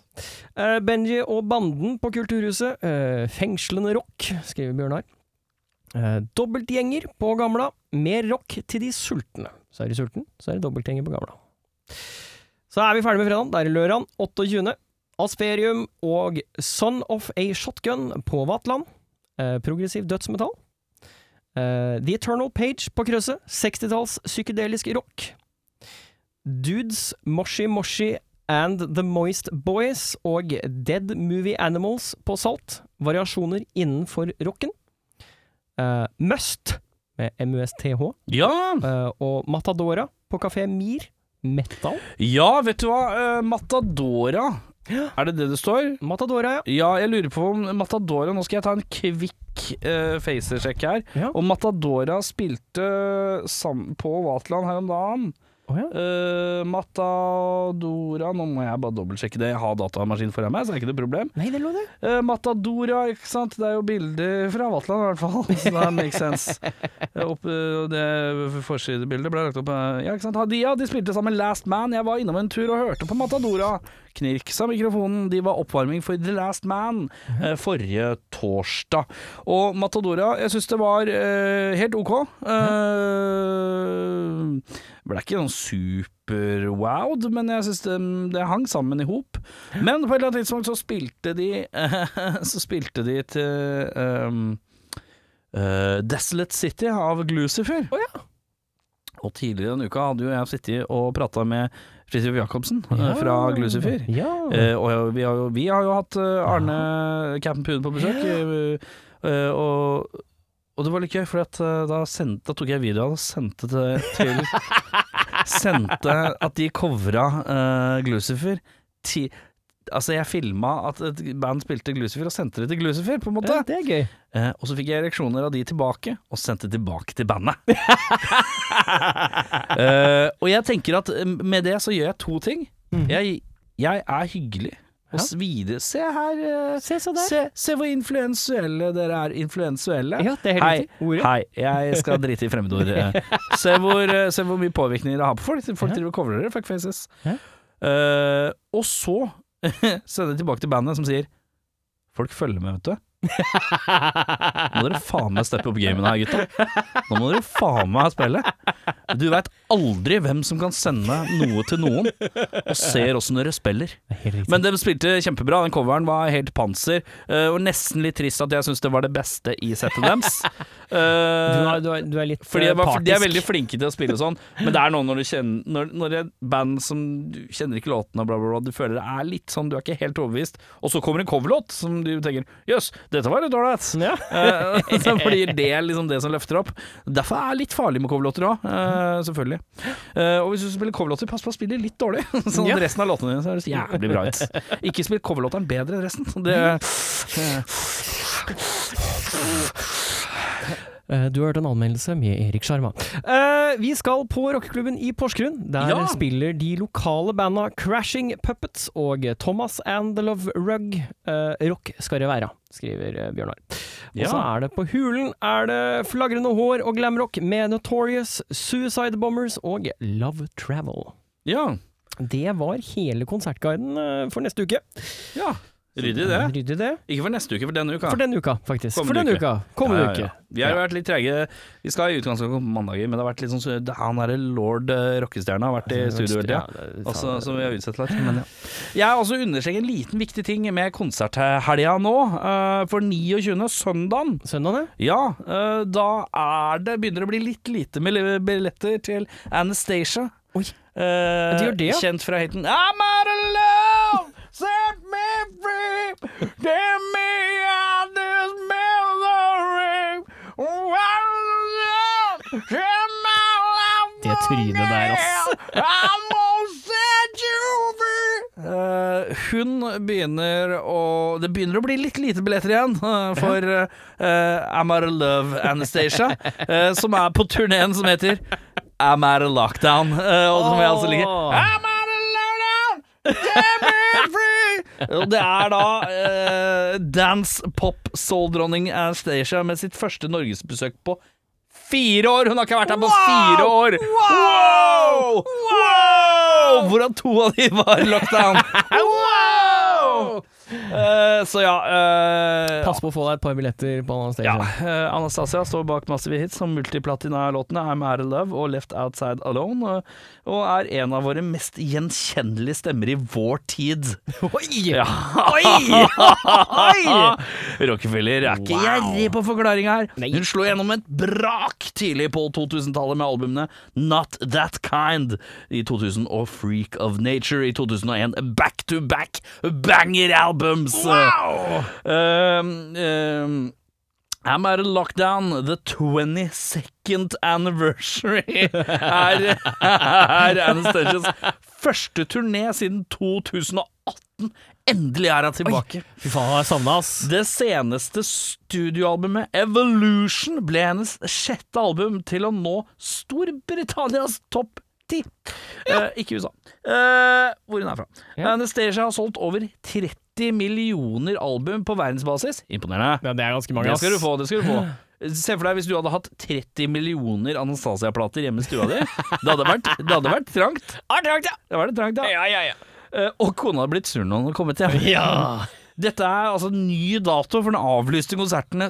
B: Eh, Benji og Banden på Kulturhuset, eh, Fengslende rock, skriver Bjørnar. Eh, dobbeltgjenger på Gamla, mer rock til de sultne. Så er de sulten, så er det dobbeltgjenger på Gamla. Så er vi ferdig med fredagen, da er det lørdag 28. Asperium og Son of a Shotgun på Vatland. Eh, progressiv dødsmetall. Eh, The Eternal Page på krøsset, 60-talls psykedelisk rock. Dudes, Moshi Moshi And The Moist Boys og Dead Movie Animals på Salt. Variasjoner innenfor rocken. Eh, Must med MUSTH
A: Ja,
B: eh, og Matadora på Kafé Mir. Metal.
A: Ja, vet du hva? Eh, Matadora. Er det det det står?
B: Matadora, ja.
A: Ja, jeg lurer på om Matadora Nå skal jeg ta en kvikk uh, facersjekk her.
B: Ja.
A: Og Matadora spilte sammen på Vaterland her om dagen.
B: Å ja.
A: Eh, Matadora Nå må jeg bare dobbeltsjekke det. Jeg har datamaskin foran meg, så det er ikke noe problem.
B: Nei, det lå det.
A: Eh, Matadora, ikke sant. Det er jo bilder fra Vaterland i hvert fall. Så det makes sense. Eh, Opp, eh, det forsidebildet ble lagt opp eh, Ja, ikke sant. Hadia, de spilte sammen Last Man. Jeg var innom en tur og hørte på Matadora. Knirk sa mikrofonen. De var oppvarming for The Last Man eh, forrige torsdag. Og Matadora, jeg syns det var eh, helt ok. Eh, ble ikke sånn super-wowed, men jeg syns det, det hang sammen i hop. Men på et eller annet tidspunkt så spilte de Så spilte de til ehm, eh, Desolate City av Glucifer.
B: Å
A: Og tidligere denne uka hadde jo jeg sittet og prata med Fridtjof Jacobsen eh, fra Glucifer.
B: Ja.
A: Eh, og jeg- vi har, jo, vi har jo hatt eh, Arne Captain Pune på besøk. eh, eh, og, og det var litt gøy, for at, eh, da, sendte, da tok jeg videoen og sendte det til Sendte at de covra eh, Glucifer ti, Altså, jeg filma at et band spilte Glucifer, og sendte det til Glucifer, på en måte.
B: Ja, det er gøy.
A: Eh, og så fikk jeg ereksjoner av de tilbake, og sendte tilbake til bandet. Eh, og jeg tenker at eh, med det så gjør jeg to ting. Jeg, jeg er hyggelig og
B: Mm. Ja.
A: svider. Se her, eh,
B: Se så der.
A: se, se hvor influensuelle dere er. Influensuelle.
B: Ja, det er helt
A: Hei,
B: riktig. Ordet.
A: hei, jeg skal drite i fremmedord. eh. Se hvor, eh, se hvor mye påvirkning dere har på folk. Folk
B: Ja.
A: driver og covrer dere, fuckfaces.
B: Ja.
A: Eh, og så sender jeg tilbake til bandet, som sier Folk følger med, vet du. Nå må dere faen meg steppe opp gamen her, gutta. Nå må dere faen meg spille. Du veit aldri hvem som kan sende noe til noen, og ser åssen dere spiller.
B: Det er helt riktig.
A: Men de spilte kjempebra. Den coveren var helt panser. eh, og nesten litt trist at jeg syns det var det beste i settet deres.
B: du,
A: Eh,
B: er, du, er, du er litt
A: fordi
B: eh,
A: jeg var, De er
B: partisk.
A: veldig flinke til å spille sånn, men det er noe når du kjenner Når, når et band som du kjenner ikke låten og bla, bla, bla, du føler det er litt sånn, du er ikke helt overbevist, og så kommer en coverlåt som du tenker Jøss, dette var litt ålreit.
B: Ja.
A: Eh, så blir det liksom det som løfter opp. Derfor er det litt farlig med coverlåter òg, selvfølgelig. Eh, og hvis du spiller coverlåter, pass på å spille litt dårlig, sånn
B: Ja.
A: at resten av låtene dine ser jævlig bra ut. Ikke spill coverlåteren bedre enn resten. Det,
B: Eh, Du har hørt en anmeldelse med Erik Sjarma. Eh, vi skal på rockeklubben i Porsgrunn. Der
A: Ja.
B: spiller de lokale banda Crashing Puppets og Thomas and the Love Rug. Eh, rock skal det være, skriver eh, Bjørnar. Og så
A: Ja.
B: er det på Hulen er det flagrende hår og glamrock med Notorious, Suicide Bombers og Love Travel.
A: ja.
B: Det var hele konsertguiden eh, for neste uke.
A: ja. Ryddig det.
B: Ryddig det.
A: Ikke for neste uke, for denne uka.
B: For denne uka, faktisk.
A: Kommende
B: for denne
A: uke.
B: uka.
A: Ja,
B: Kommende
A: ja, ja.
B: uke.
A: Vi har jo vært litt trege. Vi skal i utgangspunktet på mandager, men det har vært litt sånn så- Han derre lord eh, rockestjerna har vært i studio hele tida.
B: det er-
A: Også, som vi har utsett litt. Men ja. Jeg har også understreket en liten viktig ting med konserthelga nå. eh, for 29. søndagen
B: Søndagen,
A: ja, eh, da er det begynner det å bli litt lite med li- billetter til Anastacia.
B: Oi.
A: Eh,
B: De gjør det, ja?
A: Kjent fra hiten I'm out of love, set me free, get me out this misery. I'm out of love, set my life
B: Det trynet der, ass.
A: on fire. I'm gonna set you free. Eh, hun begynner å Det begynner å bli litt lite billetter igjen eh, for uh, I'm Out of Love Anastacia, eh, som er på turneen som heter I'm Out of Lockdown. eh, og som jeg altså liker.
B: Åh.
A: I'm out of lockdown, damn it free. Og det er da eh, dance pop soul-dronning Anastacia med sitt første norgesbesøk på Fire år! Hun har ikke vært her på fire år! Wow! Wow! Hvorav to av de var i lockdown. wow! Eh, så ja eh,
B: Pass på å få deg et par billetter på
A: ja,
B: Anastasia.
A: eh, Anastasia står bak massive hits som multiplatina-låtene I'm Out of Love og Left Outside Alone, og- og er en av våre mest gjenkjennelige stemmer i vår tid.
B: Oi!
A: Ja. Oi! Rockefeller er ikke gjerrig på forklaringa her.
B: Nei.
A: Hun slo gjennom et brak tidlig på 2000-tallet med albumene Not That Kind i 2000 og Freak of Nature i 2001. Back to back banger albums! Um, um, I'm out of lockdown, the 22nd anniversary er, er Anastasias første turné siden 2018. Endelig er hun tilbake.
B: Fy faen, jeg savna, ass.
A: Det seneste studioalbumet Evolution ble hennes sjette album til å nå Storbritannias topp ti. Eh, ikke USA. Eh, hvor hun er fra.
B: Ja.
A: Anastacia har solgt over 30 millioner album på verdensbasis. Imponerende.
B: Ja, det er ganske mange,
A: Det
B: ass.
A: skal du få, det skal du få. Se for deg hvis du hadde hatt 30 millioner Anastasia-plater hjemme i stua di. Det hadde vært, det hadde vært trangt. Det var det trangt, ja.
B: Ja, ja, ja.
A: Eh, Og kona hadde blitt sur når hun hadde kommet hjem.
B: Ja!
A: Dette er altså en ny dato for den avlyste konsertene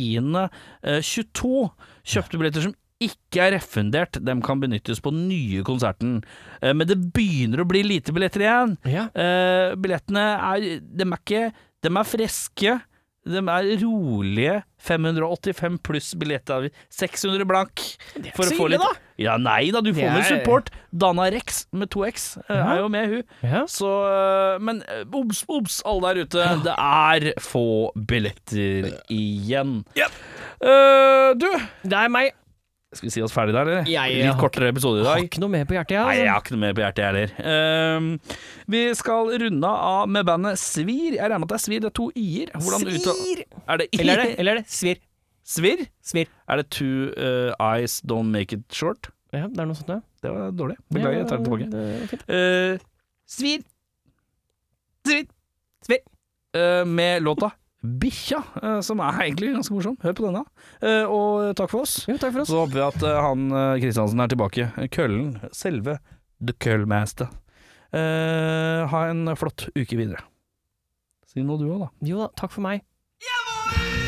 A: 17.10.22. eh, Kjøpte billetter som ikke er refundert, dem kan benyttes på den nye konserten. Eh, Men det begynner å bli lite billetter igjen.
B: ja.
A: Eh, billettene er Dem er ikke Dem er friske. De er rolige 585 pluss billetter. 600 blank.
B: Det er
A: For
B: ikke
A: å
B: så
A: få
B: ille,
A: litt- Ja, nei da, du får
B: Det
A: med
B: er-
A: support. Dana Rex med to X eh,
B: Ja.
A: er jo med, hun.
B: Ja.
A: Så eh, Men eh, obs, obs, alle der ute. Det er få billetter igjen. Eh, du,
B: Det er meg.
A: skal vi si oss ferdig der, eller?
B: Jeg har
A: litt kortere episode i
B: Har
A: dag.
B: ikke noe mer på hjertet,
A: Nei,
B: jeg.
A: jeg
B: altså.
A: har ikke noe mer på hjertet, jeg heller. Ehm, vi skal runde av med bandet Svir. Jeg regner med at det er Svir, det er to i-er. Hvordan uttaler
B: Svir!
A: Er det i?
B: Eller er det, eller er det svir?
A: Svir?
B: Svir.
A: Er det Two uh, Eyes Don't Make It Short?
B: Ja, det er noe sånt, ja.
A: Det var dårlig. Beklager, jeg tar det tilbake.
B: det er fint.
A: Eh, Svir.
B: Svir. Svir.
A: Eh, med låta Bikkja, eh, som er egentlig ganske morsom. Hør på denne. Eh, og takk for oss.
B: Jo, takk for oss.
A: Så håper vi at eh, han eh, Kristiansen er tilbake. Køllen. Selve The Køllmaster. Eh, ha en flott uke videre. Si noe du òg, da.
B: Jo da, takk for meg.
E: Jeg må ut!